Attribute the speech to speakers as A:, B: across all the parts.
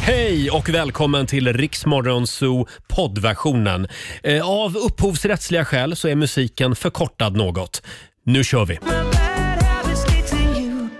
A: Hej och välkommen till Riksmorgon Zoo poddversionen. Eh, Av upphovsrättsliga skäl så är musiken förkortad något. Nu kör vi!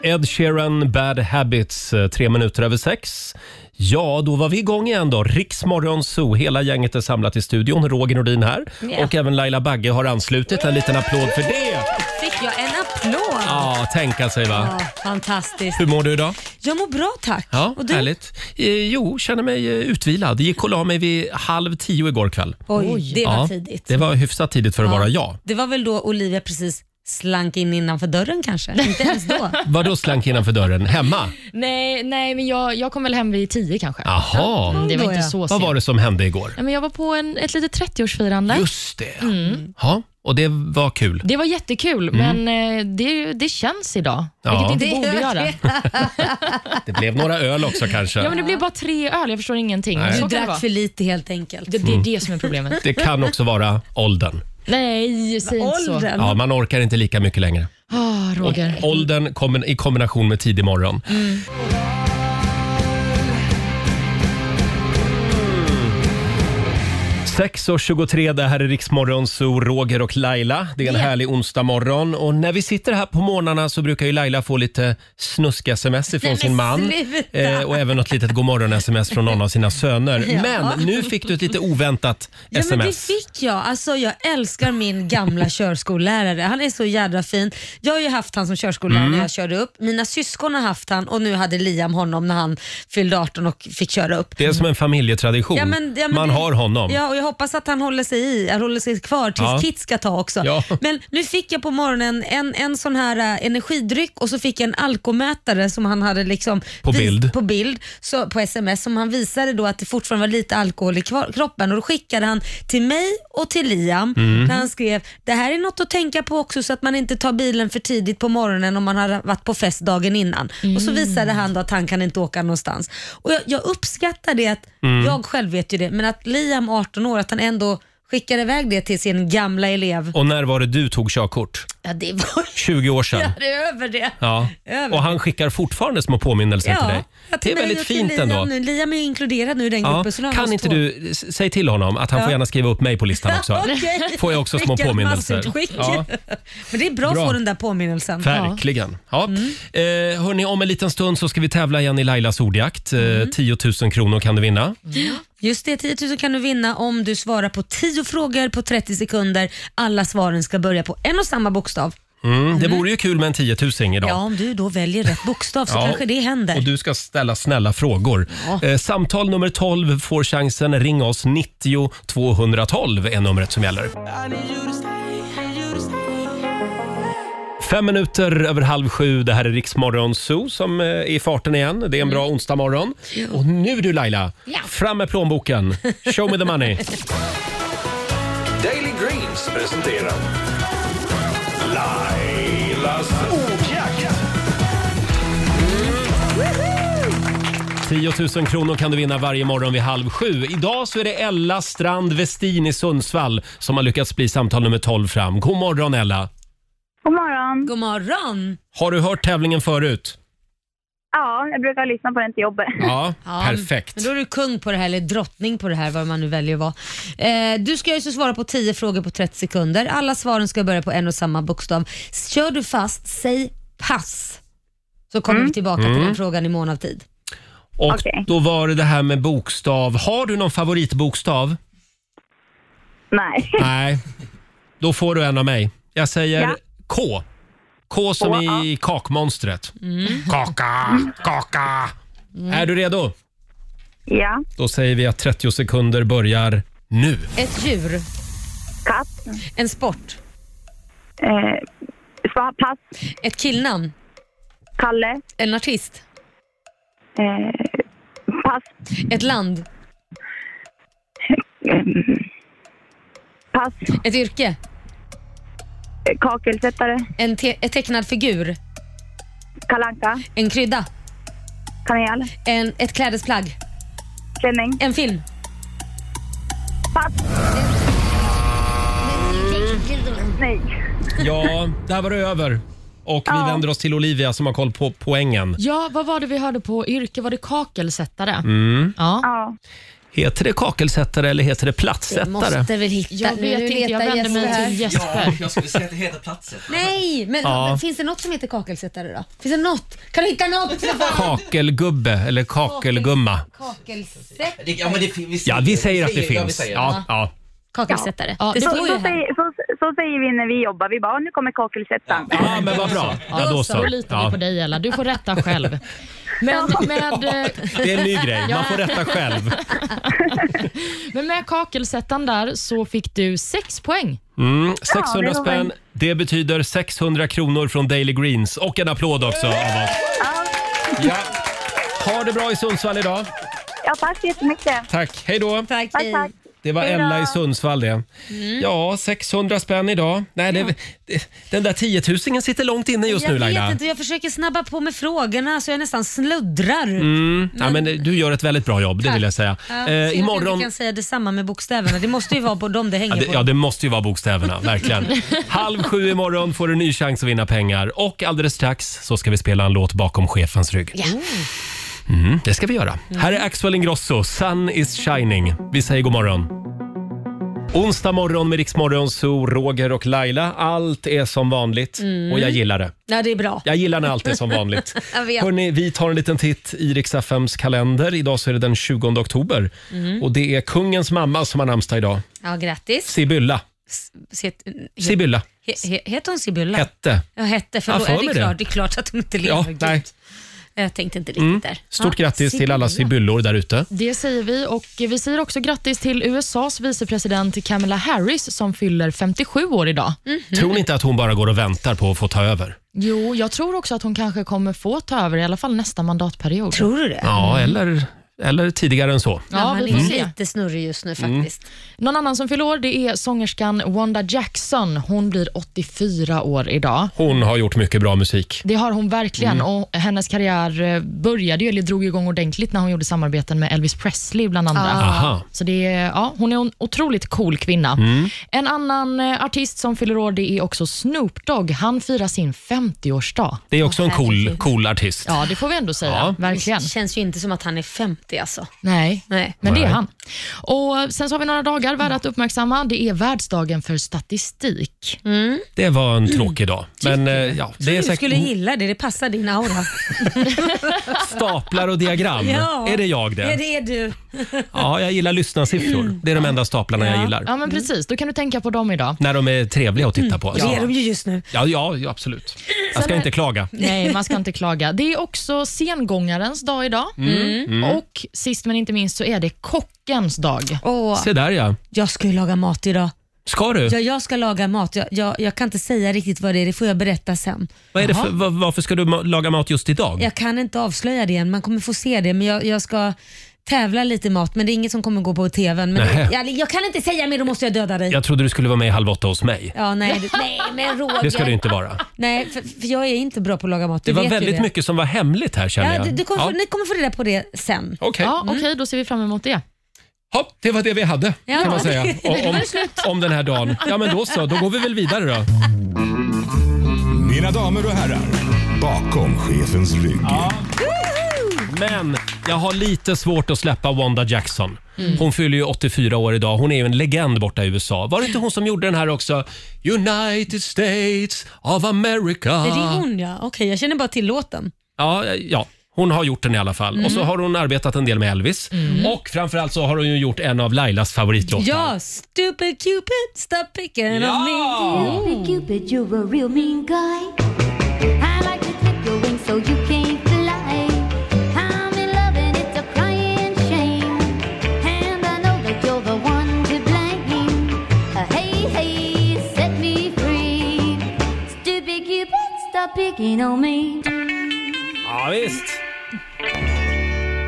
A: Ed Sheeran, Bad Habits, eh, tre minuter över sex. Ja, då var vi igång igen då. Riksmorgon Zoo, hela gänget är samlat i studion. Roger Nordin här
B: Ja.
A: och även Laila Bagge har anslutit. En liten applåd för det!
B: Fick jag en applåd?
A: Ja, tänka sig va.
B: Ja, fantastiskt.
A: Hur mår du idag?
B: Jag mår bra tack.
A: Ja,
B: och du?
A: härligt. Eh, jo, känner mig eh, utvilad. Gick och la mig vid halv tio igår kväll.
B: Oj, det var
A: ja,
B: tidigt.
A: Det var hyfsat tidigt för att vara jag.
B: Det var väl då Olivia precis slank in innanför dörren kanske? Inte ens då?
A: Vadå slank innanför dörren? Hemma?
C: Nej, nej men jag, jag kom väl hem vid tio kanske. Mm,
A: Jaha.
C: Det var
B: Då
C: inte
B: ja.
C: så
A: Vad
C: sent.
A: var det som hände igår?
C: Nej, men jag var på en, ett litet 30-årsfirande.
A: Just det.
C: Mm.
A: Ja, och det var kul.
C: Det var jättekul, men eh, det, det känns idag.
A: Ja.
C: Vilket det inte borde göra.
A: Det blev några öl också kanske.
C: Ja, men det blev bara tre öl, jag förstår ingenting.
A: Nej.
C: Så
B: Du
C: kan det, vara.
B: drack för lite helt enkelt.
C: det, det är det som är problemet.
A: Det kan också vara åldern.
C: Nej, säg inte så.
B: Åldern.
A: Ja, man orkar inte lika mycket längre.
C: Ah, Roger.
A: Åldern kombi- i kombination med tidig morgon.
B: Mm.
A: Sex och 23, det här är Riksmorgon, så Roger och Laila. Det är en
C: Ja.
A: härlig onsdag morgon. och när vi sitter här på morgnarna så brukar ju Laila få lite snusk-sms ifrån
B: Nej,
A: sin
B: men
A: man.
B: sluta.
A: Eh, och även något litet godmorgon-sms från någon av sina söner.
B: Ja.
A: Men nu fick du ett lite oväntat
B: Ja, men det
A: sms.
B: fick jag. Alltså, jag älskar min gamla körskollärare. Han är så jädra fin. Jag har ju haft han som körskollärare
A: Mm.
B: när jag körde upp. Mina syskon har haft han och nu hade Liam honom när han fyllde 18 och fick köra upp.
A: Det är som en familjetradition.
B: Ja, men- ja, men
A: Man
B: det-
A: har honom.
B: Ja, och jag hoppas att han håller sig i, han håller sig kvar tills
A: Ja.
B: Kit ska ta också.
A: Ja.
B: Men nu fick jag på morgonen en, en sån här eh, energidryck och så fick jag en alkomätare som han hade liksom
A: På
B: vis-
A: bild.
B: på, bild så, på sms som han visade då att det fortfarande var lite alkohol i kvar- kroppen och då skickade han till mig och till Liam
A: Mm.
B: där han skrev det här är något att tänka på också så att man inte tar bilen för tidigt på morgonen om man har varit på fest dagen innan. Och så visade han då att han kan inte åka någonstans. Och jag, jag uppskattar det att,
A: Mm.
B: jag själv vet ju det, men att Liam 18 år, att han ändå skickar iväg det till sin gamla elev.
A: Och när var det du tog körkort?
B: Ja, det var
A: 20 år sedan.
B: det är över det.
A: Ja.
B: Över.
A: Och han skickar fortfarande små påminnelser till dig.
B: ja, till
A: Det är
B: mig
A: väldigt
B: och till
A: fint
B: Liam
A: ändå.
B: Nu. Liam är ju inkluderad nu i den
A: Ja.
B: gruppen. Så nu har vi
A: Kan
B: oss
A: inte
B: två.
A: du s- säg till honom att han får
B: Ja.
A: gärna skriva upp mig på listan också?
B: Okej.
A: Får jag också små
B: Vilket
A: påminnelser?
B: massutskick.
A: Ja.
B: Men det är bra,
A: Bra.
B: att få den där påminnelsen.
A: Verkligen. Ja.
B: Mm.
A: Eh, hörni, om en liten stund så ska vi tävla igen i Lailas ordjakt. Eh,
B: Mm.
A: 10 000 kronor kan du vinna.
B: Just det, 10 000 kan du vinna om du svarar på 10 frågor på 30 sekunder. Alla svaren ska börja på en och samma bokstav.
A: Mm, det vore ju kul med en 10 000 idag.
B: Ja, om du då väljer rätt bokstav så
A: Ja.
B: kanske det händer.
A: Och du ska ställa snälla frågor. Eh, samtal nummer 12 får chansen. Ring oss. 90 212 är numret som gäller. Fem minuter över halv sju. Det här är Riksmorgon Zoo som eh, är i farten igen. Det är en bra
B: Mm.
A: onsdagmorgon. Och nu du Laila, fram med plånboken. Show me the money.
D: Daily Greens presenterar Lailas ordjakt.
A: 10 000 kronor kan du vinna varje morgon vid halv sju. Idag så är det Ella Strand Westin i Sundsvall som har lyckats bli samtal nummer 12 fram. God morgon Ella!
E: God morgon.
B: God morgon!
A: Har du hört tävlingen förut?
E: Ja, jag brukar lyssna på den till jobbet.
A: Ja,
B: Ja,
A: perfekt.
B: Men då är du kung på det här, eller drottning på det här, vad man nu väljer att vara. Eh, du ska ju så svara på 10 frågor på 30 sekunder. Alla svaren ska börja på en och samma bokstav. Kör du fast, säg pass. Så kommer
A: Mm.
B: vi tillbaka till den frågan i mån av tid.
A: Och
E: Okej.
A: då var det det här med bokstav. Har du någon favoritbokstav?
E: Nej.
A: Nej. Då får du en av mig. Jag säger
E: Ja.
A: K. K Mm. som i kakmonstret. Kaka, kaka. Är du redo?
E: Ja.
A: Då säger vi att 30 sekunder börjar nu.
B: Ett djur,
E: Katt.
B: en sport,
E: Eh, svar, pass.
B: ett killnamn,
E: Kalle.
B: en artist,
E: Eh, pass.
B: ett land,
E: Eh, pass.
B: ett yrke,
E: Eh, Kakelsättare.
B: en te- ett tecknad figur,
E: Kalanka.
B: en krydda,
E: Kanel.
B: en, ett klädesplagg,
E: Klänning.
B: en film.
E: Pass. Nej.
A: Ja, där var det över. Och vi vänder oss till Olivia som har koll på poängen.
C: Ja, vad var det vi hörde på yrke? Var det kakelsättare?
A: Mm.
C: Ja.
E: Ja.
A: Heter det kakelsättare eller heter det
B: Du
A: plattsättare?
B: måste väl hitta
C: Jag
B: nu.
C: vet
B: Nu
C: inte, jag
B: letar
C: vänder
B: Jesper
C: mig
B: här.
C: till typ Jesper.
F: jag skulle säga att det heter platsen.
B: Nej, men
A: Ja.
B: finns det något som heter kakelsättare då? Finns det något? Kan du hitta något? för fan?
A: Kakelgubbe eller kakelgumma.
B: Kakelsätt.
F: Det- Ja, men det, fin- vi säger,
A: Ja, vi säger att det
F: ja, vi
A: finns.
F: säger
A: Ja, ja.
B: Kakelsättare.
C: Ja,
B: det
C: det
B: står
C: får-
B: ju
E: Så,
B: här.
E: säger, så, så säger vi när vi jobbar. Vi bara, nu kommer kakelsättaren.
A: ja men vad bra. Ja, då så.
C: Då litar vi
A: Ja.
C: på dig Ella. Du får rätta själv. Men med, eh,
A: Det är en ny grej. Man får rätta själv.
C: men med kakelsättaren där så fick du sex poäng.
A: Mm,
E: det
A: 600
E: var
A: spänn. Det betyder 600 kronor från Daily Greens. Och en applåd också av oss. Ja. Ha det bra i Sundsvall idag.
E: Ja, tack så jättemycket.
A: Tack. Hej då.
B: Tack,
E: Tack,
B: hej. Mm.
E: tack.
A: Det var
E: Hej då.
A: Ella i Sundsvall det. Ja, 600 spänn idag. Nej, det, det, den där 10 000 sitter långt inne just nu
B: jag
A: Laila.
B: vet inte, jag försöker snabba på med frågorna så jag nästan sluddrar.
A: Mm. Ja, men du gör ett väldigt bra jobb, det vill jag säga.
B: Ja, synd att
A: eh,
B: vi
A: imorgon...
B: inte kan säga detsamma med bokstäverna. Det måste ju vara på dem det hänger
A: Ja det,
B: på.
A: ja, det måste ju vara bokstäverna, verkligen. Halv sju imorgon får du ny chans att vinna pengar och alldeles strax så ska vi spela en låt bakom chefens rygg. Mm, det ska vi göra. Här är Axel Ingrosso, Sun is shining. Vi säger god morgon. Onsdag morgon med Riksmorgon, så Roger och Laila. Allt är som vanligt och jag gillar det.
B: Ja, det är bra.
A: Jag gillar när allt är som vanligt.
B: Mm. Jag vet.
A: Hörrni, vi tar en liten titt i Rix FMs kalender. Idag så är det den 20 oktober
B: Mm.
A: och det är kungens mamma som har namnsdag idag.
B: Ja, grattis.
A: Sibylla.
B: Set, he,
A: Sibylla
B: he, heter hon Sibylla?
A: hette.
B: ja, hette.
A: Ja,
B: Förlåt,
A: för
B: ja, det,
A: mig
B: är
A: det.
B: klart, det är klart att hon inte lever.
A: Ja,
B: Gud.
A: nej. Mm.
B: Jag tänkte inte riktigt där.
A: Stort
B: Ja,
A: grattis till alla
B: Sibylla.
A: sibyllor där ute.
C: Det säger vi och vi säger också grattis till USAs vicepresident Kamala Harris som fyller 57 år idag.
B: Mm. Mhm.
A: Tror ni inte att hon bara går och väntar på att få ta över?
C: Jo, jag tror också att hon kanske kommer få ta över i alla fall nästa mandatperiod.
B: Tror du det?
A: Ja, eller, eller tidigare än så.
B: Ja,
C: Ja,
B: han
C: vi får
B: är
C: se.
B: lite snurrig just nu
A: Mm.
B: faktiskt.
C: Någon annan som fyller år det är sångerskan Wanda Jackson. Hon blir 84 år idag.
A: Hon har gjort mycket bra musik.
C: Det har hon verkligen och hennes karriär eh, började ju, eller drog igång ordentligt när hon gjorde samarbeten med Elvis Presley bland andra.
A: Aha.
C: Så det är, ja, hon är en otroligt cool kvinna.
A: Mm.
C: En annan eh, artist som fyller år det är också Snoop Dogg. Han firar sin 50-årsdag.
A: Det är också en cool,
B: herregud.
A: cool artist.
C: Ja, det får vi ändå säga.
A: Ja.
C: Verkligen.
B: Det känns ju inte som att han är 50 alltså.
C: Nej.
B: Nej.
C: Men det är
A: Nej.
C: han. Och Sen så har vi några dagar värda att uppmärksamma. Det är världsdagen för statistik.
A: Det var en tråkig dag. Men eh, ja, det är
B: Mm. Du skulle
A: säkert
B: gilla det, det passar din aura.
A: staplar och diagram.
B: Ja.
A: Är det jag
B: Ja,
A: det?
B: det är du.
A: Ja, jag gillar lyssnarsiffror. Det är de enda staplarna jag gillar.
C: Ja, men precis. Då kan du tänka på dem idag.
A: När de är trevliga att titta på.
B: Det är
A: alltså.
B: de ju just nu.
A: Ja, ja, ja, absolut. Jag ska inte klaga.
C: Nej, man ska inte klaga. Det är också sengångarens dag idag.
A: Mm.
C: Och sist men inte minst så är det kockens dag.
B: Åh,
A: Se där ja.
B: jag ska ju laga mat idag.
A: Ska du?
B: Ja, jag ska laga mat. Jag, jag, jag kan inte säga riktigt vad det är, det får jag berätta sen.
A: Vad är det för, va- varför ska du ma- laga mat just idag?
B: Jag kan inte avslöja det än, man kommer få se det. Men jag, jag ska tävla lite i mat, men det är inget som kommer gå på TVn. Men
A: Nähä.
B: jag, jag kan inte säga mer, då måste jag döda dig.
A: Jag trodde du skulle vara med i Halv åtta hos mig.
B: Ja, nej, du- nej, men Roger.
A: Det ska du inte vara.
B: Nej, för, för jag är inte bra på att laga mat. Du
A: Det var
B: vet ju
A: väldigt
B: det.
A: mycket som var hemligt här känner
B: Ja,
A: jag.
B: du, du kommer,
A: Ja,
B: få- Ni kommer få reda på det sen.
A: Okej,
C: Ja, Okej, då ser vi fram emot det.
A: Hopp, det var det vi hade
B: Ja.
A: kan man säga o- om, om den här dagen. Ja men då så, då går vi väl vidare då.
D: Mina damer och herrar, bakom chefens rygg.
A: Men jag har lite svårt att släppa Wanda Jackson.
B: Mm.
A: Hon fyller ju 84 år idag. Hon är ju en legend borta i USA. Var det inte hon som gjorde den här också? United States of America.
B: Är det hon ja? Okej, jag känner bara till låten.
A: Ja, ja. Hon har gjort den i alla fall. Och så har hon arbetat en del med Elvis. Och framförallt så har hon ju gjort en av Lailas favoritlåtar.
B: Ja, Stupid Cupid, stop picking on me.
A: Ja!
G: Hey, Cupid, you're a real mean guy. I like to clip your wings so you can't fly. I'm in love and it's a crying shame. And I know that you're the one to blame. Uh, hey, hey, set me free. Stupid Cupid, stop picking on me.
A: Ja, visst.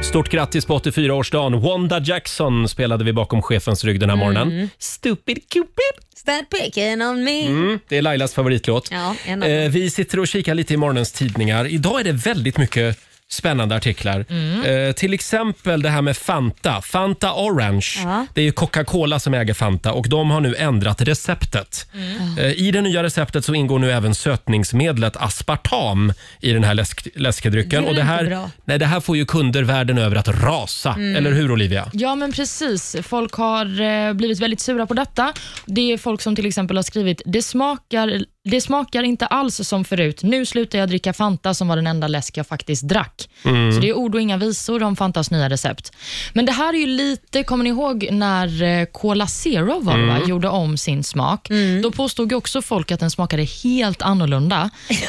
A: Stort grattis på 84-årsdagen. Wanda Jackson spelade vi bakom chefens rygg den här morgonen. Stupid Cupid.
B: Stop picking on me.
A: Mm, det är Lailas favoritlåt.
B: Ja, en av dem.
A: eh, vi sitter och kikar lite i morgonens tidningar. Idag är det väldigt mycket spännande artiklar.
B: Mm.
A: Eh, till exempel det här med Fanta. Fanta Orange.
B: Ja.
A: Det är ju Coca-Cola som äger Fanta och de har nu ändrat receptet.
B: Mm.
A: Eh, I det nya receptet så ingår nu även sötningsmedlet aspartam i den här läsk- läskedrycken.
B: Det är
A: och det,
B: inte
A: här,
B: bra. Mm.
A: nej, det här får ju kunder världen över att rasa. Eller hur Olivia?
C: Ja, men precis. Folk har eh, blivit väldigt sura på detta. Det är folk som till exempel har skrivit det smakar, det smakar inte alls som förut. Nu slutar jag dricka Fanta som var den enda läsk jag faktiskt drack.
A: Mm.
C: Så det är ord och inga visor om Fantas nya recept. Men det här är ju lite, kommer ni ihåg när eh, Cola Zero var, det, va?
A: Mm.
C: gjorde om sin smak? Då påstod ju också folk att den smakade helt annorlunda.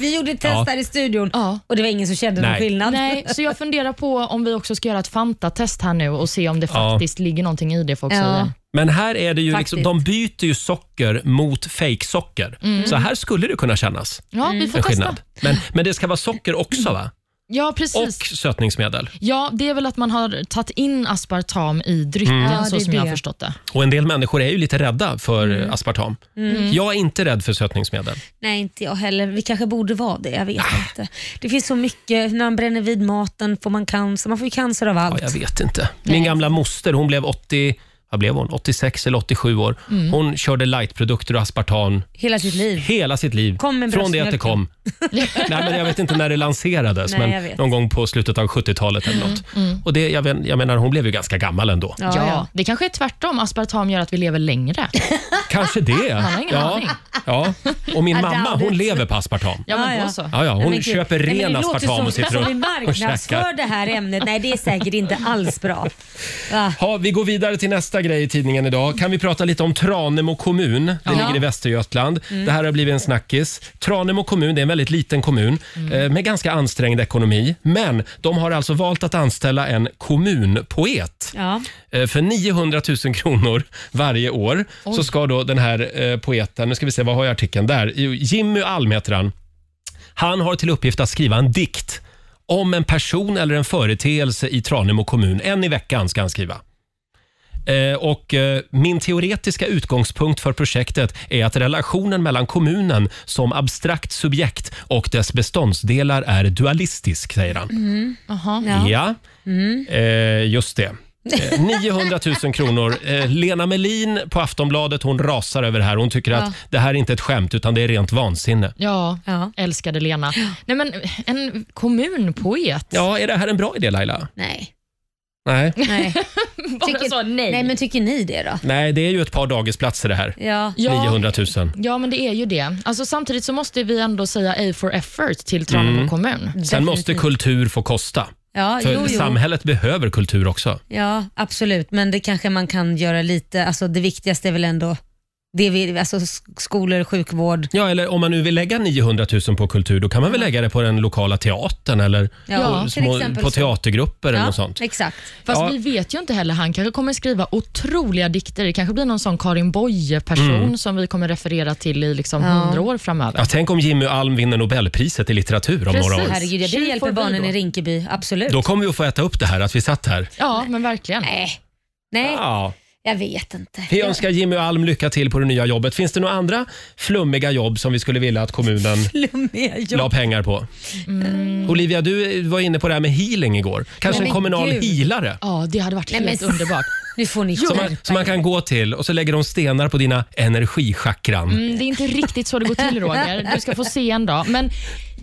B: Vi gjorde ett test
A: Ja.
B: här i studion
C: Ja.
B: och det var ingen som kände någon
A: Nej.
B: skillnad.
C: Nej, så jag funderar på om vi också ska göra ett Fanta-test här nu och se om det
A: Ja.
C: faktiskt ligger någonting i det folk
B: Ja.
C: säger.
A: Men här är det ju
B: Faktiskt. Mm.
A: liksom, de byter ju socker mot fejksocker. Så här skulle det kunna kännas.
C: Ja, vi får
A: En
C: testa.
A: skillnad. Men, men det ska vara socker också va?
C: Ja,
A: Och
C: precis.
A: sötningsmedel.
C: Ja, det är väl att man har tagit in aspartam i drycken,
B: Mm. Ja, det
C: så
B: är
C: som jag har
B: det.
C: förstått det.
A: Och en del människor är ju lite rädda för eh, aspartam. Jag är inte rädd för sötningsmedel.
B: Nej, inte jag heller. Vi kanske borde vara det. Jag vet inte. Det finns så mycket. När man bränner vid maten får man cancer. Man får ju cancer av
A: Ja,
B: allt.
A: jag vet inte. Min gamla moster, hon blev 80 vad blev hon? 86 eller 87 år. Hon körde lightprodukter och aspartam
B: Hela sitt liv.
A: hela sitt liv.
B: Kom med
A: Från det att det kom.
B: bröstmjölken.
A: Nej, men jag vet inte när det lanserades,
B: Nej, jag
A: men
B: vet.
A: någon gång på slutet av 70-talet eller något. Och det, jag, vet- jag menar, hon blev ju ganska gammal ändå.
C: Ja,
B: Ja, ja.
C: Det kanske är tvärtom. Aspartam gör att vi lever längre.
A: Kanske det. Han
C: har ingen aning.
A: ja. Och min
B: I
A: mamma,
B: doubt
A: hon
B: it.
A: lever på aspartam.
C: Ja, men
B: Ja,
C: då
B: ja.
C: så.
A: Ja, ja,
B: Nej,
A: hon
B: men gud.
A: köper
B: Nej, men
A: ren
B: det låter
A: aspartam
B: som-
A: och sitter
B: som vi
A: och, och
B: marknadsför
A: käkar.
B: det här ämnet. Nej, det är säkert inte alls bra. Va?
A: Ja, vi går vidare till nästa grej i tidningen idag. Kan vi prata lite om Tranemo kommun? Det ligger i Västergötland. Det här har blivit en snackis. Tranemo kommun det är en väldigt liten kommun eh, med ganska ansträngd ekonomi. Men de har alltså valt att anställa en kommunpoet.
B: Ja.
A: Eh, För 900 000 kronor varje år så ska då den här eh, poeten, nu ska vi se vad har jag i artikeln där, Jo, Jimmy Alm heter han. Han har till uppgift att skriva en dikt om en person eller en företeelse i Tranemo kommun. En i veckan ska han skriva. Eh, Och eh, min teoretiska utgångspunkt för projektet är att relationen mellan kommunen som abstrakt subjekt och dess beståndsdelar är dualistisk, säger han.
C: Jaha.
A: Ja,
B: Mm.
A: Eh, just det. Eh, 900 000 kronor. Eh, Lena Melin på Aftonbladet hon rasar över det här. Hon tycker att det här är inte ett skämt utan det är rent vansinne.
C: Ja,
B: Ja.
C: älskade Lena. Nej, men en kommunpoet.
A: Ja, är det här en bra idé Laila?
B: Nej.
A: Nej,
B: Nej.
C: Bara så, nej.
B: nej, men tycker ni det då?
A: Nej det är ju ett par dagisplatser det här.
B: Ja.
C: Ja.
A: 900 000.
C: Ja, men det är ju det. Alltså, samtidigt så måste vi ändå säga A for effort till Tranemo kommun.
A: Sen måste kultur få kosta.
B: Ja,
A: För
B: jo, jo.
A: samhället behöver kultur också.
B: ja, absolut. Men det kanske man kan göra lite. Alltså, det viktigaste är väl ändå det vi, alltså, sk- skolor, sjukvård.
A: Ja, eller om man nu vill lägga 900 000 på kultur, då kan man väl lägga det på den lokala teatern eller
B: Ja,
A: på,
B: till
A: små,
B: exempel
A: på
B: så.
A: teatergrupper eller
B: Ja,
A: något sånt.
B: exakt.
C: Fast
A: Ja.
C: vi vet ju inte heller. Han kanske kommer skriva otroliga dikter. Det kanske blir någon sån Karin Boye-person som vi kommer referera till i liksom
B: Ja.
C: hundra år framöver.
A: Ja, tänk om Jimmy Alm vinner Nobelpriset i litteratur om
C: Precis.
A: några år.
B: Herregud, ja, det
C: Tjur får
B: hjälper
C: vi
B: barnen
C: då.
B: i Rinkeby. Absolut.
A: Då kommer vi att få äta upp det här att vi satt här.
B: Eh.
C: Ja, men verkligen.
B: Nej. Nej,
A: Ja.
B: jag vet inte.
A: Vi önskar Jimmy Alm lycka till på det nya jobbet. Finns det några andra flummiga jobb som vi skulle vilja att kommunen
B: Flummiga jobb.
A: la pengar på? Olivia, du var inne på det här med healing igår. Kanske
B: Mm. Nej,
A: en
B: men
A: kommunal
B: gud.
A: healare
C: Ja, det hade varit
B: Nej,
C: helt
B: men-
C: underbart.
B: Nu får ni
A: som
B: skärpa
A: man, som man
B: er.
A: kan gå till och så lägger de stenar på dina energichakran.
C: Mm, det är inte riktigt så det går till Roger. Du ska få se en dag. Men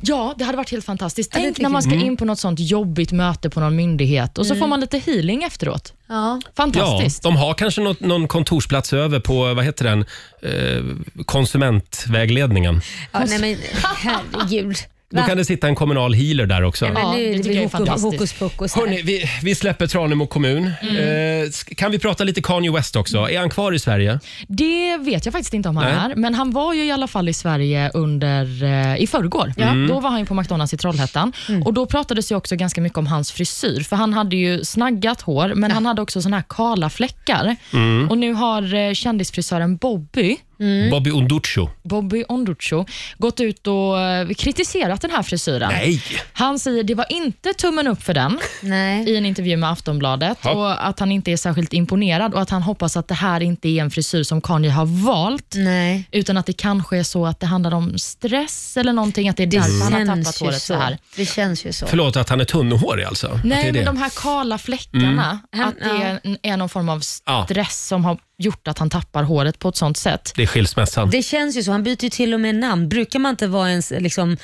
C: ja, det hade varit helt fantastiskt.
B: det
C: Tänk
B: tycker Mm.
C: när man ska
A: Mm.
C: in på något sånt jobbigt möte på någon myndighet och så får man lite healing efteråt.
B: Ja.
A: Ja,
C: Fantastiskt.
A: de har kanske något, någon kontorsplats över på, vad heter den, eh, konsumentvägledningen.
B: Ja, nej men herregud.
A: Då kan det sitta en kommunal healer där också.
B: Men nu
C: Ja, det
B: är
C: tycker
B: det
C: jag är
B: hokus,
C: fantastiskt.
B: hokus pokus. här.
A: Hörrni, vi, vi släpper Tranemo kommun. Eh, sk- kan vi prata lite Kanye West också? Är han kvar i Sverige?
C: Det vet jag faktiskt inte om han
A: Nej.
C: är, men han var ju i alla fall i Sverige under, eh, i förrgår.
A: Mm.
C: Då var han ju på McDonalds i Trollhättan
B: Mm.
C: och då pratades ju också ganska mycket om hans frisyr, för han hade ju snaggat
A: Mm.
C: hår, men han hade också såna här kala fläckar. Och nu har eh, kändisfrisören Bobby
A: Bobby Onducho.
C: Bobby Onducho gått ut och eh, kritiserat den här frisyren.
A: Nej!
C: Han säger det var inte tummen upp för den
B: Nej.
C: i en intervju med Aftonbladet
A: Ja.
C: och att han inte är särskilt imponerad och att han hoppas att det här inte är en frisyr som Kanye har valt
B: Nej.
C: utan att det kanske är så att det handlar om stress eller någonting, att det är
B: Det
C: därför han har tappat
B: känns ju
C: håret så här.
B: Det känns ju så.
A: Mm. Förlåt att han är tunnhårig alltså? Att det
C: Nej,
A: är
C: men
A: det.
C: de här kala fläckarna,
B: Han-
C: att det är, är någon form av
A: Ja.
C: stress som har gjort att han tappar håret på ett sånt sätt.
A: det är skilsmässan.
B: Det känns ju så. Han byter ju till och med namn. Brukar man inte vara ens, liksom,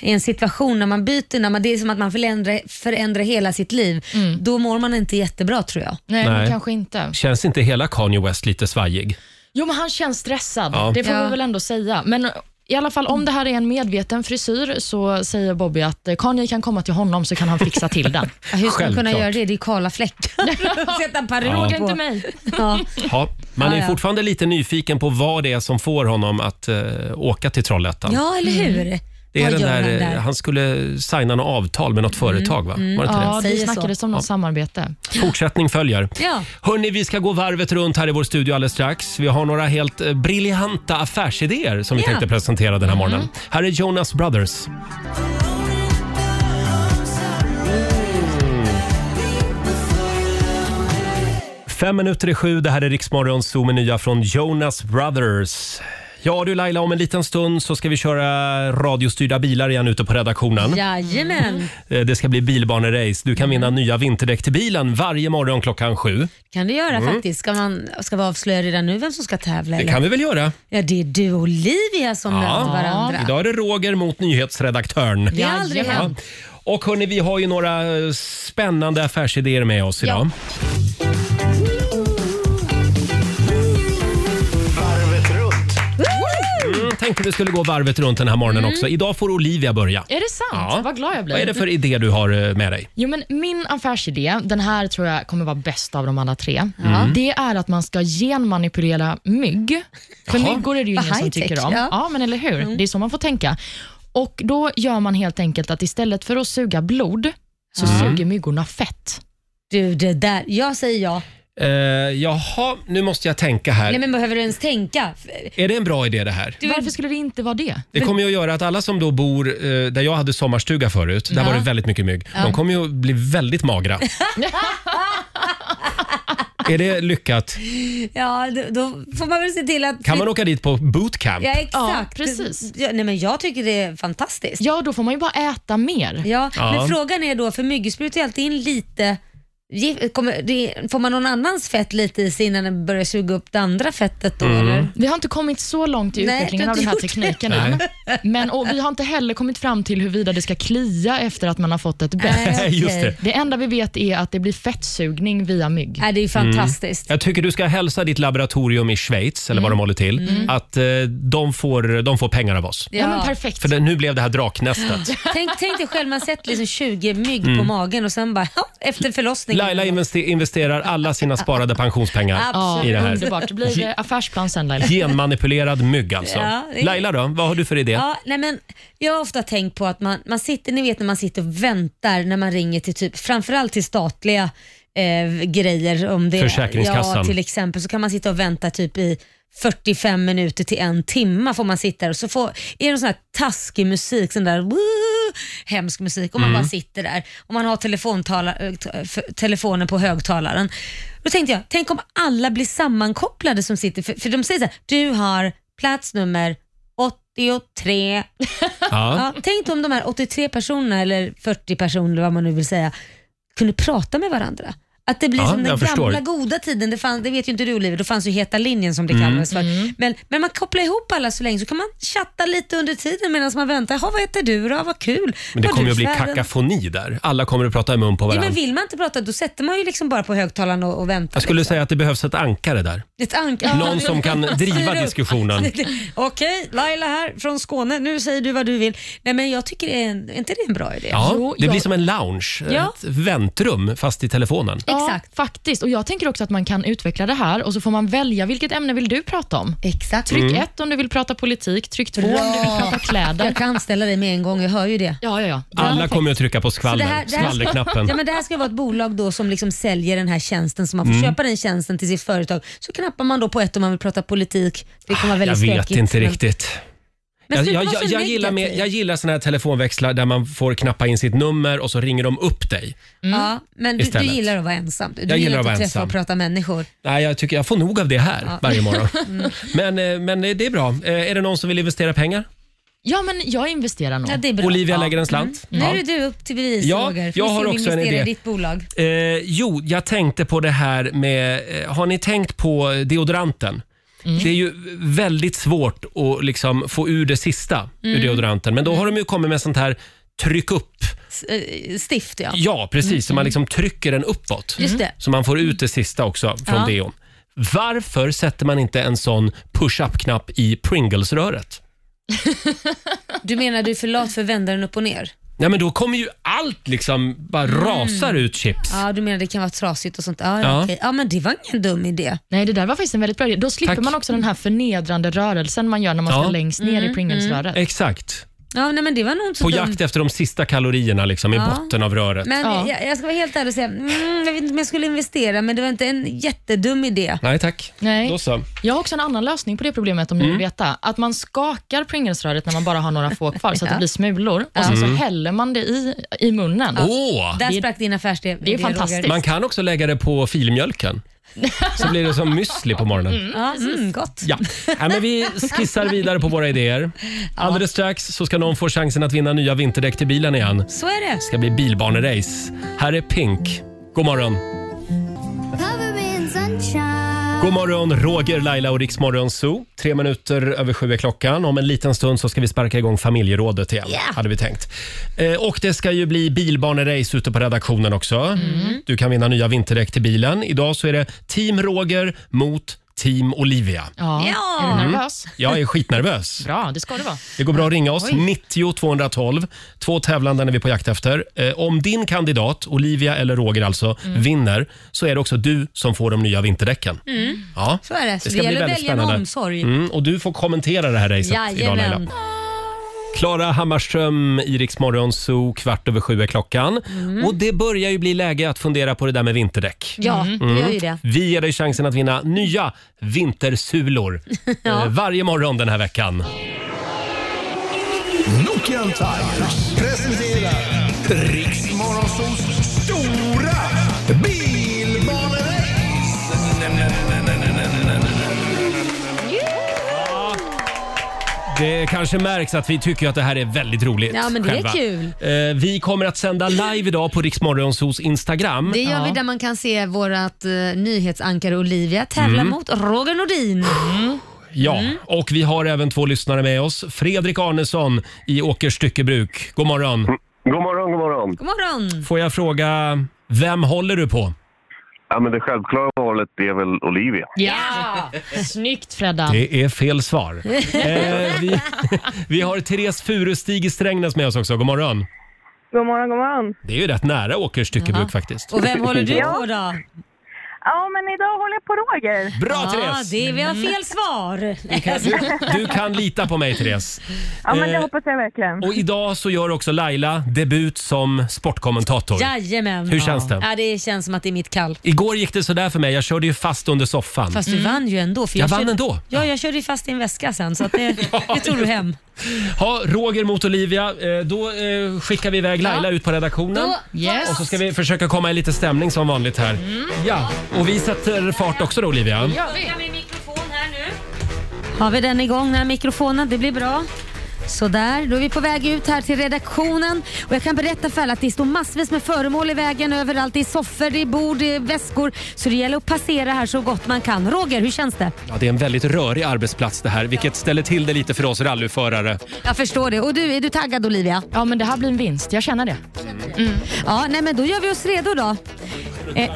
B: i en situation när man byter namn, det är som att man förändrar, förändrar hela sitt liv.
C: Mm.
B: Då mår man inte jättebra tror jag.
C: Nej,
A: Nej.
C: Men kanske inte.
A: Känns inte hela Kanye West lite svajig?
C: Jo, men han känns stressad.
A: Ja.
C: Det får
B: Ja.
C: vi väl ändå säga. Men eh, i alla fall, om det här är en medveten frisyr så säger Bobby att eh, Kanye kan komma till honom så kan han fixa till den.
B: Ja, Hur ska man kunna
A: Självklart.
B: göra det? Det är ju kala fläckar. Sätta en
A: Ja.
B: parod
C: Fråga
B: på.
C: inte mig.
B: Ja.
A: Ja, man
B: Ja,
A: är
B: ja.
A: fortfarande lite nyfiken på vad det är som får honom att eh, åka till Trollhättan.
B: ja, eller hur?
A: det är
B: Vad
A: den
B: gör
A: där,
B: han
A: eh, han skulle signa något avtal med något företag, va? Var det inte
C: Ja, det
B: Säger så.
C: snackades om något samarbete.
A: det? Fortsättning följer.
B: Ja.
A: Hörni, vi ska gå varvet runt här i vår studio alldeles strax. Vi har några helt eh, briljanta affärsidéer som vi
B: Ja. Mm.
A: tänkte presentera den här morgonen. Här är Jonas Brothers. Fem minuter i sju, det här är Riksmorgon Zoo med nya från Jonas Brothers. Ja du Laila, om en liten stund så ska vi köra radiostyrda bilar igen ute på redaktionen.
B: Jajamän.
A: Eh, Det ska bli bilbanerace. Du kan vinna nya vinterdäck till bilen varje morgon klockan sju.
B: kan du göra faktiskt. Ska, man, ska vi avslöja redan nu vem som ska tävla?
A: Mm. Det
B: Eller?
A: kan vi väl göra?
B: Ja, det är du och Olivia som
A: Ja.
B: möter varandra.
A: Idag är det Roger mot nyhetsredaktören.
B: Det har aldrig
C: Jajamän.
B: hänt.
A: Och hörni, vi har ju några eh, spännande affärsidéer med oss idag. Mm, tänkte vi skulle gå varvet runt den här morgonen också. Idag får Olivia börja.
C: Är det sant?
A: Mm. Ja.
C: Vad glad jag blir.
A: Vad är det för idé du har eh, med dig?
C: Jo, men min affärsidé, den här tror jag kommer vara bäst av de alla tre,
B: Mm.
C: det är att man ska genmanipulera mygg. För
A: Jaha.
C: myggor är det ju
B: Vad
C: ingen som
B: high-tech,
C: tycker om.
B: ja. Mm.
C: Ja. men eller hur? Det är så man får tänka. Och Då gör man helt enkelt att istället för att suga blod, så
B: Mm.
C: suger myggorna fett.
B: Du, det där. Jag säger ja.
A: Eh, jaha, nu måste jag tänka här.
B: Nej, men behöver du ens tänka?
A: Är det en bra idé det här?
B: Du,
C: Varför skulle det inte vara det?
A: Det kommer ju att göra att alla som då bor eh, där jag hade sommarstuga förut, där var det väldigt mycket mygg. De kommer ju att bli väldigt magra. är det lyckat?
B: Ja, då, då får man väl se till att...
A: Kan man åka dit på bootcamp?
B: Ja, exakt.
C: Ja, precis.
B: Ja, nej, men jag tycker det är fantastiskt. Ja.
C: Ja, då får man ju bara äta mer.
A: Ja.
B: Men frågan är då, för myggor sprutar ju alltid in lite... ge- Kommer, det, får man någon annans fett lite i sig innan den börjar suga upp det andra fettet då?
A: Mm.
B: Eller?
C: Vi har inte kommit så långt i
B: Nej,
C: utvecklingen
B: du har
C: av den här
B: inte gjort
C: tekniken
A: det.
C: än. Men, och Vi har inte heller kommit fram till huruvida det ska klia efter att man har fått ett bett.
B: Nej,
A: Just
B: okej.
A: det.
C: Det enda vi vet är att det blir fettsugning via mygg.
B: Nej, det är ju fantastiskt.
A: Mm. Jag tycker du ska hälsa ditt laboratorium i Schweiz, eller vad
B: Mm.
A: de håller till, att eh, de, får, de får pengar av oss.
C: Ja, men perfekt.
A: För det, nu blev det här draknästet.
B: Tänk, tänk dig själv, man sätter liksom 20 mygg på magen och sen bara efter
A: Mm.
B: förlossningen.
A: Laila investe- investerar alla sina sparade pensionspengar
C: ja,
A: i det här.
C: underbart. Det blir det affärsplan sen Laila.
A: Genmanipulerad mygg alltså.
B: Ja, det är-
A: Laila då, vad har du för idé?
B: Ja, nej men, jag har ofta tänkt på att man, man sitter, ni vet när man sitter och väntar när man ringer till typ, framförallt till statliga eh, grejer. Om det,
A: Försäkringskassan.
B: Ja, till exempel så kan man sitta och vänta typ i 45 minuter till en timme får man sitta där och så får, är det sån här taskig musik, sån där woo, hemsk musik och man bara sitter där och man har telefontala, eh, t- f- telefonen på högtalaren. Då tänkte jag, tänk om alla blir sammankopplade som sitter, för, för de säger så här, du har plats nummer 83.
A: Ja.
B: Ja, tänk om de här 83 personerna, eller 40 personer eller vad man nu vill säga, kunde prata med varandra. Att det blir
A: Ja,
B: som den
A: jag
B: gamla
A: förstår.
B: goda tiden, det, fann, det vet ju inte du Oliver, då fanns ju heta linjen som det
A: Mm.
B: kallades för. Men, men man kopplar ihop alla så länge så kan man chatta lite under tiden medan man väntar. Jaha, vad heter du då? Vad kul.
A: Men det
B: Vad
A: kommer
B: du
A: att bli
B: för världen?"
A: kakafoni där. Alla kommer att prata i mun på
B: Ja,
A: varandra.
B: men vill man inte prata då sätter man ju liksom bara på högtalaren och, och väntar.
A: Jag skulle
B: liksom.
A: säga att det behövs ett ankare där.
B: Ett anka.
A: Någon som kan driva
B: Styr upp.
A: diskussionen.
B: Okej, Laila här från Skåne. Nu säger du vad du vill. Nej men jag tycker det är, en, är inte det en bra idé?
A: Ja,
C: Jo,
A: det
C: jag-
A: blir som en lounge,
B: Ja.
A: ett väntrum fast i telefonen.
B: Ja, Exakt.
C: faktiskt. Och Jag tänker också att man kan utveckla det här och så får man välja vilket ämne vill du prata om.
B: Exakt.
C: Tryck
A: Mm.
C: ett om du vill prata politik, tryck två om du vill prata kläder.
B: Jag kan ställa dig med en gång, jag hör ju det.
C: Ja, ja, ja.
A: Alla kommer att trycka på
B: Så
A: skvaller, skvallerknappen.
B: Ja, men det här ska vara ett bolag då som liksom säljer den här tjänsten, så man får
A: Mm.
B: köpa den tjänsten till sitt företag. Så knappar man då på ett om man vill prata politik. Det kan vara
A: Jag
B: väldigt
A: vet
B: stökigt,
A: inte
B: men-
A: riktigt.
B: Men
A: Jag,
B: sluta
A: jag,
B: vara
A: jag,
B: så
A: jag, gillar med,
B: negativ.
A: jag gillar såna här telefonväxlar där man får knappa in sitt nummer och så ringer de upp dig.
B: Ja, men du, du
A: Istället.
B: gillar att vara ensam. Du
A: gillar att
B: inte
A: vara
B: att träffa
A: ensam.
B: och prata människor.
A: Nej, jag, tycker, jag får nog av det här varje morgon.
B: Mm.
A: Men, eh, men det är bra. Eh, Är det någon som vill investera pengar?
C: ja, men jag investerar nog.
B: Ja, det är bra.
A: Olivia
B: ja. Mm.
A: lägger en slant.
B: Nu
A: Ja.
B: är det du upp till bevis
A: Ja,
B: Roger.
A: jag har
B: se om
A: också en
B: investera
A: idé.
B: i ditt bolag.
A: Eh, jo, jag tänkte på det här med... Eh, har ni tänkt på deodoranten?
B: Mm.
A: Det är ju väldigt svårt att liksom få ur det sista ur
B: Mm.
A: deodoranten. Men då har de ju kommit med sånt här tryck upp.
B: S- eh, Stift ja.
A: Ja, precis. Så
B: Mm.
A: man liksom trycker den uppåt.
B: Just det.
A: Så man får ut det sista också från
B: Ja.
A: deon. Varför sätter man inte en sån push-up-knapp i Pringles-röret?
B: Du menar du är för lat för att vända den upp och ner?
A: Ja, men då kommer ju allt liksom bara rasar ut chips.
B: Mm. Ja, du menar det kan vara trasigt och sånt. Ja,
A: Ja.
B: ja. okej. ja men det var ingen dum idé.
C: Nej, det där var faktiskt en väldigt bra idé. Då slipper
A: Tack.
C: man också den här förnedrande rörelsen man gör när man
A: Ja. mm.
C: ska längst ner i Pringles-röret.
A: Exakt.
B: Ja, nej, men det var nog inte så
A: På
B: dumt.
A: jakt efter de sista kalorierna liksom i
B: Ja.
A: botten av röret.
B: Men
C: Ja.
B: jag, jag ska vara helt ärlig och säga, mm, jag vet inte om jag skulle investera men det var inte en jättedum idé.
A: Nej tack.
C: Nej.
A: Då så. Mm.
C: Jag har också en annan lösning på det problemet om ni vill veta. Att man skakar Pringles-röret när man bara har några få kvar så att det blir smulor och sen så
A: Mm.
C: häller man det i, i munnen.
A: Åh!
B: Där sprack din affärsidé.
C: Det är fantastiskt.
B: Roger.
A: Man kan också lägga det på filmjölken. Så blir det som müsli på morgonen.
B: Ja, mm, gott.
A: Ja. Nej, men vi skissar vidare på våra idéer. Alldeles strax så ska någon få chansen att vinna nya vinterdäck till bilen igen. Det
B: Så är det.
A: ska bli bilbanerace. Här är Pink. God morgon!
G: Cover in sunshine.
A: God morgon, Roger, Laila och Riksmorgon Zoo. Tre minuter över sju är klockan. Om en liten stund så ska vi sparka igång familjerådet igen, hade vi tänkt. Eh, och det ska ju bli bilbanerace ute på redaktionen också. Du kan vinna nya vinterdäck till bilen. Idag så är det Team Roger mot Team Olivia.
C: Ja.
B: Ja.
C: Är du nervös?
A: Jag är skitnervös.
C: Bra, det ska det vara.
A: Det går bra att ringa oss. 90 212. Två tävlande är vi på jakt efter. Eh, om din kandidat, Olivia eller Roger alltså, vinner så är det också du som får de nya vinterdäcken. Ja.
B: Så är det. Så
A: ska
B: det
A: bli
B: gäller att
A: väldigt
B: välja med
A: spännande.
B: omsorg.
A: Mm, och du får kommentera det här racet idag Laila.
B: Jajamän.
A: Klara Hammarström, Iriks morgonzoo, kvart över sju är klockan.
B: Mm.
A: Och det börjar ju bli läge att fundera på det där med vinterdäck.
B: Ja, det gör ju det.
A: Vi ger dig chansen att vinna nya vintersulor eh, varje morgon den här veckan.
D: Nokian Tigers presenterar Riksmorgonsols stora bilbanerace.
A: Det kanske märks att vi tycker att det här är väldigt roligt.
B: Ja, men det är
A: själva.
B: kul.
A: Eh, vi kommer att sända live idag på Riksmorgonsos Instagram.
B: Det gör
C: Ja.
B: vi där man kan se vårt eh, nyhetsankare Olivia tävla
A: Mm.
B: mot Roger Nordin.
A: Ja,
B: Mm.
A: och vi har även två lyssnare med oss. Fredrik Arnesson i Åkers styckebruk. God morgon.
H: God morgon, god morgon.
B: God morgon!
A: Får jag fråga, vem håller du på?
H: Ja, men det självklara valet är väl Olivia.
C: Ja! Snyggt Fredda.
A: Det är fel svar. eh, vi, vi har Therese Furustig i Strängnäs med oss också. God morgon.
E: God morgon, god morgon.
A: Det är ju rätt nära Åkers styckebruk faktiskt.
B: Och vem håller du på då?
E: Ja, men idag håller jag på Roger.
A: Bra
B: Ja,
A: Therese!
B: det, vi har fel svar.
A: Du kan lita på mig Therese.
E: Ja, men det
A: Eh,
E: hoppas jag verkligen.
A: Och idag så gör också Laila debut som sportkommentator.
B: Jajamän.
A: Hur känns det?
B: Ja, det känns som att det är mitt kall.
A: Igår gick det sådär för mig. Jag körde ju fast under soffan.
B: Fast du vann ju ändå. För
A: Mm. Jag vann
B: körde,
A: ändå.
B: Ja, jag körde ju fast i en väska sen så att det, det tog du hem.
A: Ha, Roger mot Olivia. Eh, Då eh, skickar vi iväg Laila
B: Ja.
A: ut på redaktionen.
B: Då- Mm.
C: Yes.
A: Och så ska vi försöka komma i lite stämning som vanligt här. Ja, och vi sätter fart också då Olivia.
B: Har vi den igång, den här mikrofonen? Det blir bra. Sådär, då är vi på väg ut här till redaktionen. Och jag kan berätta för alla att det står massvis med föremål i vägen överallt. Det är soffor, det är bord, det är väskor. Så det gäller att passera här så gott man kan. Roger, hur känns det?
A: Ja, det är en väldigt rörig arbetsplats det här, vilket ställer till det lite för oss rallyförare.
B: Jag förstår det. Och du, är du taggad Olivia?
C: Ja, men det här blir en vinst. Jag känner det.
B: Ja, nej men då gör vi oss redo då. Eh,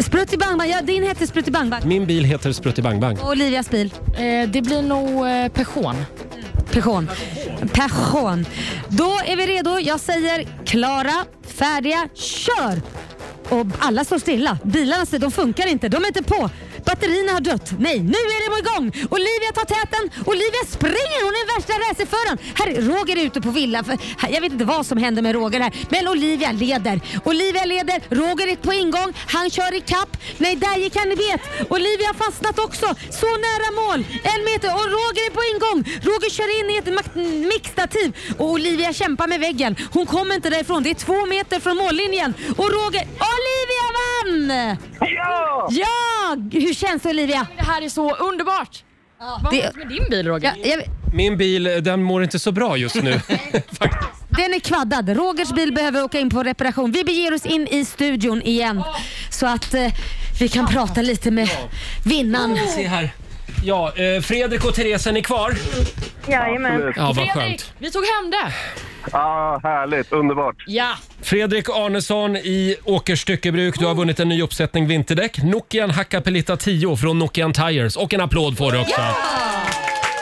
B: Sprutt i bang bang, ja din hette Sprutt i bang bang.
A: Min bil heter Spruttibang Bang.
B: Och Olivias bil,
C: Eh, det blir nog eh, Peugeot.
B: Peugeot. Peugeot. Då är vi redo. Jag säger klara, färdiga, kör!
I: och alla står stilla. Bilarna de funkar inte, de är inte på. Batterierna har dött. Nej, nu är de igång! Olivia tar täten, Olivia springer, hon är värsta racerföraren. Här, Roger är ute på villa, för, här, jag vet inte vad som händer med Roger här, men Olivia leder. Olivia leder, Roger är på ingång, han kör i kapp. Nej, där gick han i bet. Olivia har fastnat också, så nära mål. En meter och Roger är på ingång. Roger kör in i ett mak- mixtativ och Olivia kämpar med väggen. Hon kommer inte därifrån, det är två meter från mållinjen. Och Roger, Olivia vann!
H: Ja!
I: Ja! Hur känns det Olivia?
C: Det här är så underbart! Vad
I: Det-
C: har hänt med din bil Roger?
I: Ja, jag,
A: Min bil, eh, den mår inte så bra just nu.
I: den är kvaddad. Rogers bil behöver åka in på reparation. Vi beger oss in i studion igen så att eh, vi kan prata lite med vinnaren.
A: Se här. Ja, eh, Fredrik och Therese, är ni kvar?
E: Jajamän.
A: Ja, vad
C: Fredrik,
A: skönt.
C: vi tog hem det!
H: Ah, härligt, underbart.
C: Ja,
A: Fredrik Arnesson i Åkers styckebruk. Du har vunnit en ny uppsättning vinterdäck. Nokian Hakkapeliitta 10 från Nokian Tires. Och en applåd får du också.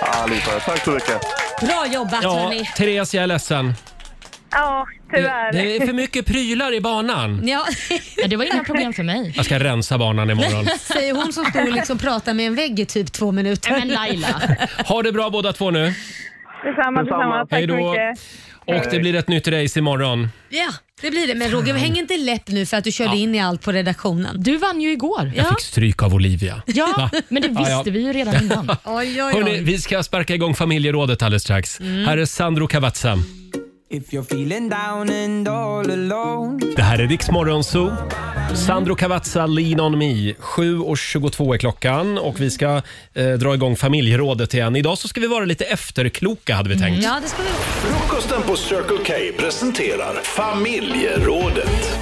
H: Allihopa, tack så mycket.
B: Bra jobbat
A: Ja,
B: hörni.
A: Therese, jag är ledsen.
E: Ja,
A: Det,
E: tyvärr.
A: det är för mycket prylar i banan.
B: Ja,
C: det var inga problem för mig.
A: Jag ska rensa banan imorgon.
B: säger hon som stod och liksom pratade med en vägg i typ två minuter.
C: Nej, Men Laila,
A: Ha det bra båda två nu.
E: Detsamma, detsamma. Tack
A: Hej
E: så
A: då.
E: mycket.
A: Och det blir ett nytt race imorgon.
B: Ja, det blir det. Men Roger, häng inte läpp nu för att du körde in i allt på redaktionen.
C: du vann ju igår.
A: Jag
C: Ja,
A: fick stryk av Olivia. Va?
C: men det visste
A: Ja, ja.
C: vi ju redan innan.
B: Oj, oj,
A: Hörrni, vi ska sparka igång familjerådet alldeles strax.
B: Mm.
A: Här är Sandro Cavazza.
F: If you're feeling down and all alone
A: Det här är Rix Morgon Zoo. Sandro Cavazza, Lean on me. 7.22 är klockan och vi ska eh, dra igång familjerådet igen. Idag så ska vi vara lite efterkloka hade vi tänkt.
B: Mm. Ja, det ska vi
D: Frukosten på Circle K presenterar Familjerådet.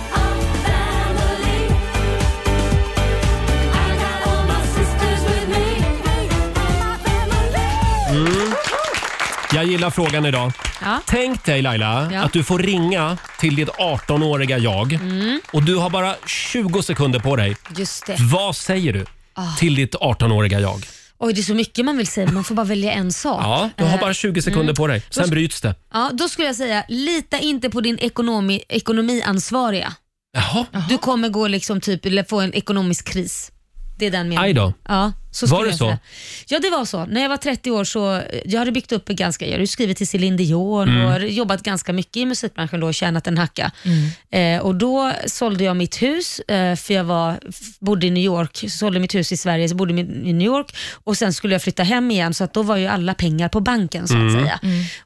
A: Jag gillar frågan idag.
B: Ja.
A: Tänk dig Laila
B: Ja.
A: att du får ringa till ditt 18-åriga jag
B: Mm.
A: och du har bara 20 sekunder på dig.
B: Just det.
A: Vad säger du
B: Ah.
A: till ditt 18-åriga jag?
B: Oj, det är så mycket man vill säga. Man får bara välja en sak.
A: Ja, du har
B: Eh,
A: bara 20 sekunder på dig. Sen bryts det.
B: ja, då skulle jag säga, lita inte på din ekonomi, ekonomiansvariga.
A: Jaha,
B: Du kommer gå liksom typ, eller få en ekonomisk kris. Det är den
A: aj
B: meningen.
A: då.
B: Ja, så
A: Var
B: skulle
A: det
B: jag
A: så?
B: säga. Ja, det var så. När jag var 30 år så eh, jag hade byggt upp en ganska, jag hade ju skrivit till Céline Dion
A: Mm.
B: och jobbat ganska mycket i musikbranschen då och tjänat en hacka. Eh, och då sålde jag mitt hus, eh, för jag var, f- bodde i New York, så sålde mitt hus i Sverige, så bodde i i New York och sen skulle jag flytta hem igen så att då var ju alla pengar på banken så att
A: Mm.
B: säga.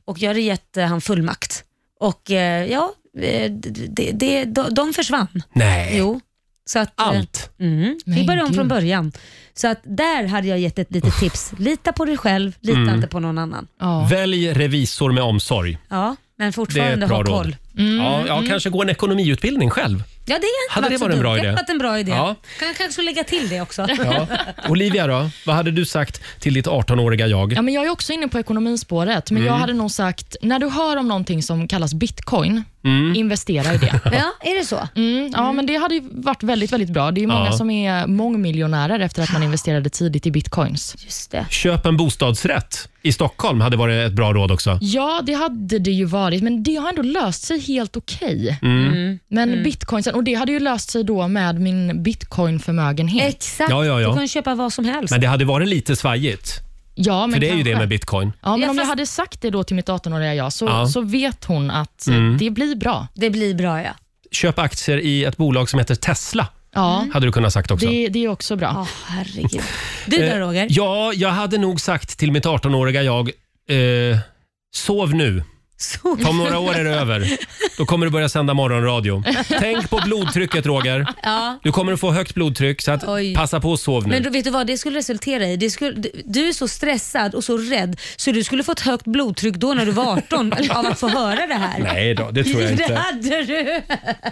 B: Och jag hade gett eh, han fullmakt. Och eh, ja, eh, d- d- det- de, de försvann.
A: Nej,
B: Jo. Så att, eh,
A: allt.
B: Mm. Vi
C: Men
B: började om
C: gud.
B: från början. Så att där hade jag gett ett litet tips. Lita på dig själv, lita
A: Mm.
B: inte på någon annan.
C: Ja.
A: Välj revisor med omsorg.
B: Ja, men
A: Det är
B: fortfarande
A: ett
B: ha
A: bra
B: koll.
A: råd. Mm, Ja, ja, kanske gå en ekonomiutbildning själv.
B: Ja, det är
A: Hade det varit en bra idé?
B: Det hade varit en bra idé.
A: Ja.
B: Kan kanske skulle lägga till det också.
A: Ja. Olivia då, vad hade du sagt till ditt 18-åriga jag?
C: Ja, men jag är också inne på ekonomispåret, men jag
A: Mm.
C: hade nog sagt, när du hör om någonting som kallas bitcoin,
A: Mm.
C: investera i det.
B: Ja, är det så?
C: Mm, ja, men det hade ju varit väldigt, väldigt bra. Det är ju många
A: Ja.
C: som är mångmiljonärer efter att man investerade tidigt i bitcoins.
B: Just det.
A: Köp en bostadsrätt i Stockholm hade varit ett bra råd också.
C: Ja, det hade det ju varit, men det har ändå löst sig helt okej.
A: Mm.
C: Men bitcoinsen, och det hade ju löst sig då med min bitcoinförmögenhet.
B: Exakt.
A: Ja, ja, ja.
B: Du kan köpa vad som helst.
A: Men det hade varit lite svajigt,
C: Ja, men
A: för det är ju
C: kanske.
A: det med bitcoin.
C: Ja, men
B: Ja,
C: om jag
B: fast-
C: hade sagt det då till mitt 18-åriga jag, så,
A: Ja. Mm.
C: så vet hon att eh, det blir bra.
B: Det blir bra ja.
A: Köp aktier i ett bolag som heter Tesla,
C: Ja,
A: hade du kunnat sagt också.
C: det, det är också bra.
B: Ja, herregud. Du då
A: Eh,
B: Roger?
A: Ja, jag hade nog sagt till mitt 18-åriga jag, eh, sov nu.
B: Så.
A: Om några år är det över. Då kommer du börja sända morgonradio. Tänk på blodtrycket Roger.
B: Ja.
A: Du kommer att få högt blodtryck så att
B: Oj.
A: passa på att sov nu.
B: Men då, vet du vad det skulle resultera i? Det skulle, du- du är så stressad och så rädd så du skulle få ett högt blodtryck då när du var 18 av att få höra det här.
A: Nej då, det tror jag
B: Det
A: inte.
B: hade du.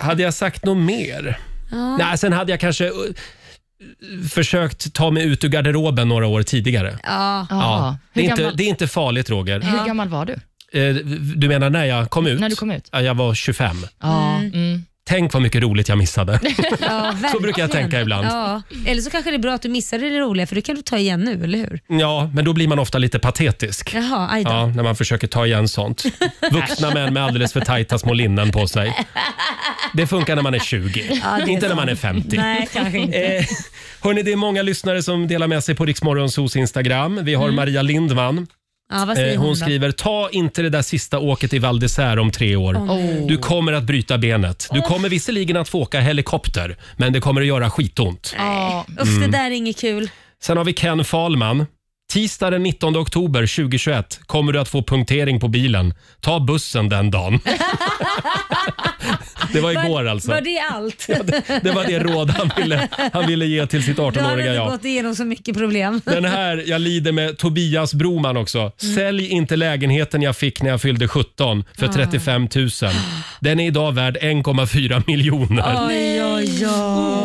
A: Hade jag sagt något mer? Nej, sen hade jag kanske eh, försökt ta mig ut ur garderoben några år tidigare.
B: Ja.
A: Ja.
C: Ja.
A: Det,
C: Hur,
A: är inte,
C: gammal,
A: det är inte farligt Roger.
C: hur gammal var du?
A: Eh, Du menar när jag kom ut?
C: När du kom ut?
A: Ja, jag var 25.
C: Ja. Mm.
A: Tänk vad mycket roligt jag missade.
B: Ja,
A: Så
B: verkligen.
A: brukar jag tänka ibland.
B: Ja. Eller så kanske det är bra att du missade det roliga för det kan du ta igen nu, eller hur?
A: Ja, men då blir man ofta lite patetisk.
B: Jaha, aj då.
A: Ja, när man försöker ta igen sånt. Vuxna män med alldeles för tajta små linnen på sig. Det funkar när man är 20,
B: Ja, det är
A: inte när
B: sant.
A: man är 50.
B: Nej, kanske inte.
A: Eh, hörni, det är många lyssnare som delar med sig på Riksmorgonsos Instagram. Vi har Maria Lindman.
B: Ja, Mm. vad säger
A: Eh, hon
B: då?
A: skriver, ta inte det där sista åket i Val d'Isère om tre år.
C: Oh.
A: Du kommer att bryta benet. Du kommer visserligen att få åka helikopter, men det kommer att göra skitont.
C: Ja,
B: Uff,
A: Mm.
B: det där är inget kul.
A: Sen har vi Ken Falman. Tisdag den 19 oktober 2021 kommer du att få punktering på bilen. Ta bussen den dagen. det var igår alltså.
B: Var det allt?
A: Det var det råd han ville, han ville ge till sitt
B: Du har
A: 18-åriga
B: inte
A: jag.
B: gått igenom så mycket problem.
A: Den här, jag lider med Tobias Broman också. Sälj inte lägenheten jag fick när jag fyllde 17 för 35 000. Den är idag värd 1,4 miljoner.
B: Oj, oj,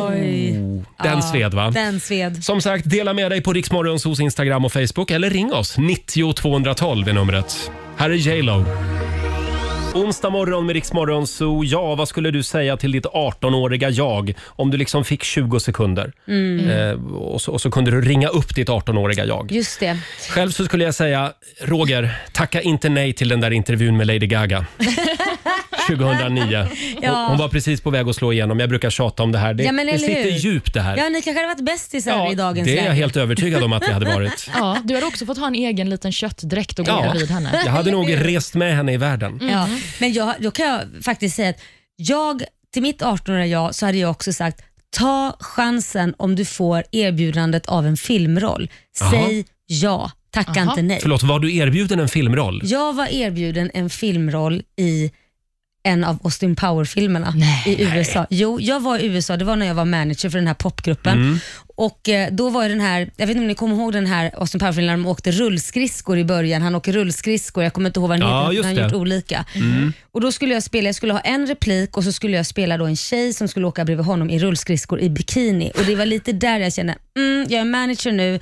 B: oj.
A: Den sved Mm. va?
B: Den sved.
A: Som sagt, dela med dig på Riksmorgons hos Instagram och Facebook eller ring oss. 90 212 är numret. Här är J Lo. Onsdag morgon med Riksmorgon Zoo. Ja, vad skulle du säga till ditt 18-åriga jag om du liksom fick 20 sekunder eh, och, så, och så kunde du ringa upp ditt 18-åriga jag?
B: Just det.
A: Själv så skulle jag säga, Roger, tacka inte nej till den där intervjun med Lady Gaga. 2009. Hon,
B: Ja.
A: hon var precis på väg att slå igenom. Jag brukar tjata om det här. Det,
B: Ja, men
A: det
B: eller
A: sitter
B: hur?
A: djupt det här.
B: Ja, ni kanske hade varit bästisar i dagens
A: det är jag
B: läge.
A: helt övertygad om att vi hade varit.
C: ja, du har också fått ha en egen liten köttdräkt och gå
A: Ja.
C: bredvid henne.
A: Jag hade nog rest med henne i världen.
B: Ja. Men jag, då kan jag faktiskt säga att jag, till mitt 18-åriga jag så hade jag också sagt ta chansen om du får erbjudandet av en filmroll. Säg ja, tacka
C: Jaha.
B: inte nej.
A: Förlåt, var du erbjuden en filmroll?
B: Jag var erbjuden en filmroll i en av Austin Power-filmerna i USA. Jo, jag var i USA, det var när jag var manager för den här popgruppen.
A: Mm.
B: Och eh, då var ju den här, jag vet inte om ni kommer ihåg den här Austin Power-filmen när de åkte rullskridskor i början. Han åker rullskridskor, jag kommer inte ihåg vad den
A: Ja,
B: heter,
A: just
B: men han
A: det.
B: har gjort olika.
A: Mm.
B: Och då skulle jag spela, jag skulle ha en replik och så skulle jag spela då en tjej som skulle åka bredvid honom i rullskridskor i bikini. Och det var lite där jag kände, mm, jag är manager nu,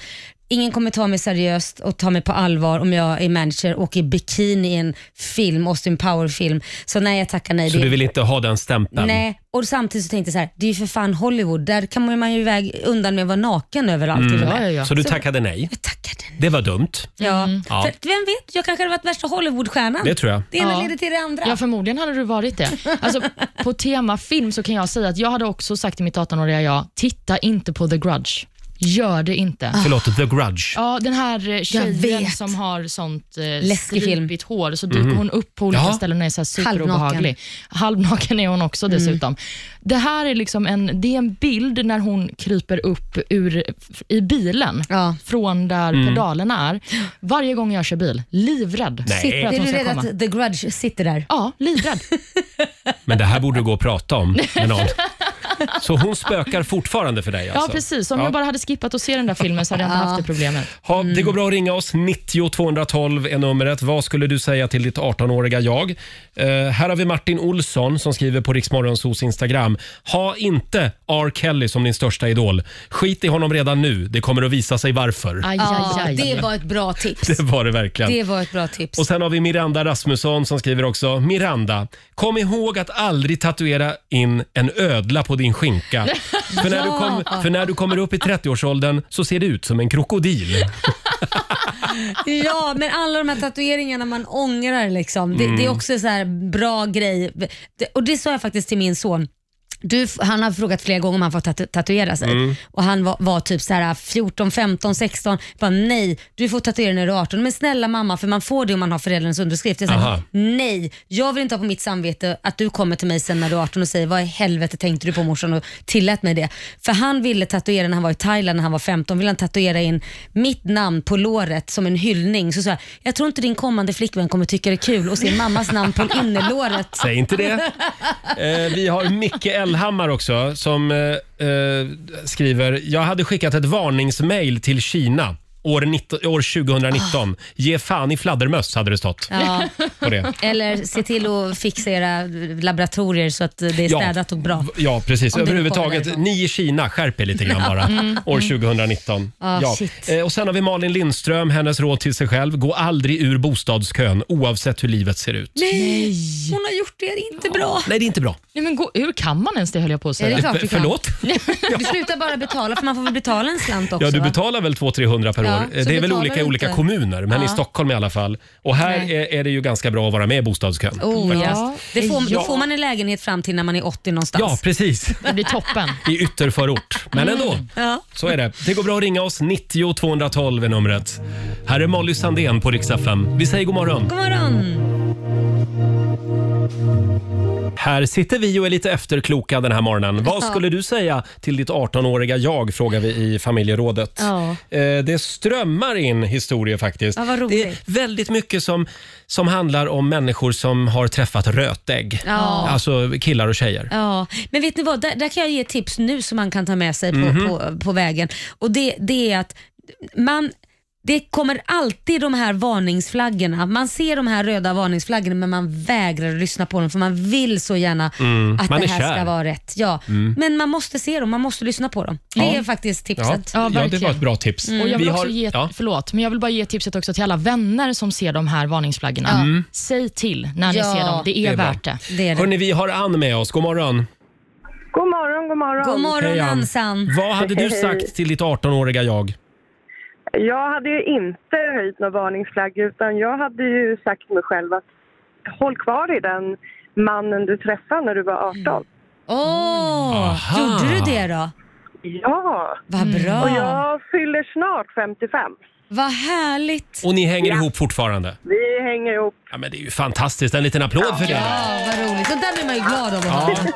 B: ingen kommer ta mig seriöst och ta mig på allvar om jag är manager och åker i bikini i en film, Austin Power-film. Så nej, jag tackar nej.
A: Så
B: Det-
A: du vill inte ha den stämpeln?
B: Nej, och samtidigt så tänkte jag så här, det är ju för fan Hollywood, där kan man ju iväg undan med att vara naken överallt.
A: Mm.
B: till och
C: Ja,
B: med.
C: ja, ja.
A: Så du tackade nej?
B: Jag tackade nej.
A: Det var dumt.
B: Ja.
C: Mm.
A: Ja.
B: För, att vem vet, jag kanske hade varit värsta Hollywoodstjärnan.
A: Det tror jag.
B: Det ena
C: Ja.
B: leder till det andra.
C: Ja, förmodligen hade du varit det. Alltså, på tema film så kan jag säga att jag hade också sagt till mitt 18-åriga jag, titta inte på The Grudge. Gör det inte.
A: Förlåt, The Grudge.
C: Ja, den här eh, tjejen
B: Ah. vet.
C: som har sånt eh,
B: Läskig film.
C: stripigt hår, så dyker hon upp på olika
A: Mhm. Ja.
C: ställen och är så här superobehaglig. Halvnaken. är hon också
B: Mm.
C: dessutom. Det här är liksom en, det är en bild när hon kryper upp ur, f- i bilen
B: Ja.
C: från där
A: Mm.
C: pedalerna är. Varje gång jag kör bil, livrädd.
A: Nej.
C: Sitter att
B: Är
C: hon
B: du
C: ska
B: rädd
C: komma.
B: att The Grudge sitter där?
C: Ja, livrädd.
A: Men det här borde du gå och prata om med någon. Så hon spökar fortfarande för dig
C: Ja,
A: alltså?
C: precis. Om
A: Ja.
C: jag bara hade skippat att se den där filmen så hade jag inte haft det problemet.
A: Ha, det går bra att ringa oss. 90 212 är numret. Vad skulle du säga till ditt 18-åriga jag? Eh, här har vi Martin Olsson som skriver på Riksmorgonsos Instagram. Ha inte R. Kelly som din största idol. Skit i honom redan nu. Det kommer att visa sig varför.
C: Aj, aj, aj.
B: det var ett bra tips.
A: Det var det verkligen.
B: Det var ett bra tips.
A: Och sen har vi Miranda Rasmusson som skriver också. Miranda, kom ihåg att aldrig tatuera in en ödla på din skinka. För när, du, kom, för när du kommer upp i 30-årsåldern så ser det ut som en krokodil.
B: Ja, men alla de här tatueringarna man ångrar liksom. Det, det är också så här bra grej. Det, och det sa jag faktiskt till min son. Du, han har frågat flera gånger om han får tatu- tatuera sig. Och Han var, var typ så här 14, 15, 16. Jag bara, nej, du får tatuera när du är 18. Men snälla mamma, för man får det om man har föräldrarnas underskrift. Jag
A: Aha.
B: säger, nej, jag vill inte ha på mitt samvete att du kommer till mig sen när du är 18 och säger vad i helvete tänkte du på morsan och tillät mig det. För han ville tatuera när han var i Thailand när han var 15, ville han tatuera in mitt namn på låret som en hyllning. Så sa jag, jag tror inte din kommande flickvän kommer tycka det är kul att se mammas namn på innerlåret.
A: Säg inte det. Eh, vi har Micke Elhammar också som eh, eh, skriver. Jag hade skickat ett varningsmail till Kina år, 19, år 2019. Ge fan i fladdermöss hade det stått.
B: Ja.
A: På det.
B: Eller se till att fixa era laboratorier så att det är städat och bra.
A: v- Ja, precis.
B: Om det nu
A: Överhuvudtaget,
B: kommer därifrån.
A: ni i Kina, skärp er lite grann bara. År 2019.
B: Ah, shit.
A: Eh, Och sen har vi Malin Lindström, hennes råd till sig själv. Gå aldrig ur bostadskön oavsett hur livet ser ut. Nej,
B: Hon har gjort det inte bra.
A: det är inte bra.
C: Nej, men gå ur, kan man ens det höll jag på att
B: Är Ah. det
C: säga.
B: klart du kan.
A: Förlåt?
B: Du slutar bara betala för man får väl betala en slant också
A: Ja, du
B: va?
A: betalar väl 200-300 per
B: Ja,
A: Eh,
B: så
A: det är väl
B: betalar
A: olika
B: du
A: i olika
B: inte.
A: kommuner, men
B: Ja.
A: i Stockholm i alla fall. Och här
B: Nej.
A: är, är det ju ganska bra att vara med i bostadskön.
B: Oh,
A: faktiskt.
B: ja. det får, Då
A: Ja.
B: får man en lägenhet fram till när man är 80
A: ja,
B: någonstans.
A: precis.
C: Det blir toppen.
A: I ytterförort. Men ändå,
B: Ja.
A: så är det. Det går bra att ringa oss. 90 212 är numret. Här är Molly Sandén på riksdag 5. Vi säger god morgon.
B: God morgon!
A: Här sitter vi och är lite efterkloka den här morgonen. Vad skulle du säga till ditt 18-åriga jag, frågar vi i familjerådet.
B: Ja.
A: Eh, Det strömmar in historier faktiskt.
B: Ja, vad roligt.
A: det är väldigt mycket som, som handlar om människor som har träffat rötägg.
B: Ja.
A: Alltså killar och tjejer.
B: Ja, men vet ni vad? Där, där kan jag ge tips nu som man kan ta med sig på,
A: Mhm.
B: på, på vägen. Och det, det är att man det kommer alltid de här varningsflaggorna. Man ser de här röda varningsflaggorna men man vägrar att lyssna på dem för man vill så gärna att
A: Mm. Man
B: det
A: är
B: här
A: kär. Mm.
B: ska vara rätt. Ja. Men man måste se dem, man måste lyssna på dem. Det är faktiskt tipset.
C: Ja,
A: ja, det
C: verkligen.
A: var ett bra tips.
B: Mm.
C: Och jag vill
A: Vi
C: också
A: har-
C: ge,
A: ja.
C: förlåt, men jag vill bara ge tipset också till alla vänner som ser de här varningsflaggorna. Säg till när ni
B: Ja.
C: ser dem. Det är,
A: Mm. är bra.
C: värt det.
B: Det Mm. är det.
A: Hörni, vi har Ann med oss. God morgon.
E: God morgon, god morgon.
B: God morgon
A: Hej, Ann.
B: Ansan.
A: Vad hade du sagt till ditt 18-åriga jag?
E: Jag hade ju inte höjt någon varningsflagg utan jag hade ju sagt till mig själv att håll kvar i den mannen du träffade när du var 18.
A: Mm.
B: Åh,
A: Aha. Mm.
B: gjorde du det då?
E: Ja,
B: Vad bra.
E: och jag fyller snart 55.
B: Vad härligt.
A: Och ni hänger ihop fortfarande?
E: Vi hänger ihop.
A: Ja, men det är ju fantastiskt. En liten applåd för det.
B: Ja, vad roligt. Sånt där blir man ju glad av att höra.
A: Ja,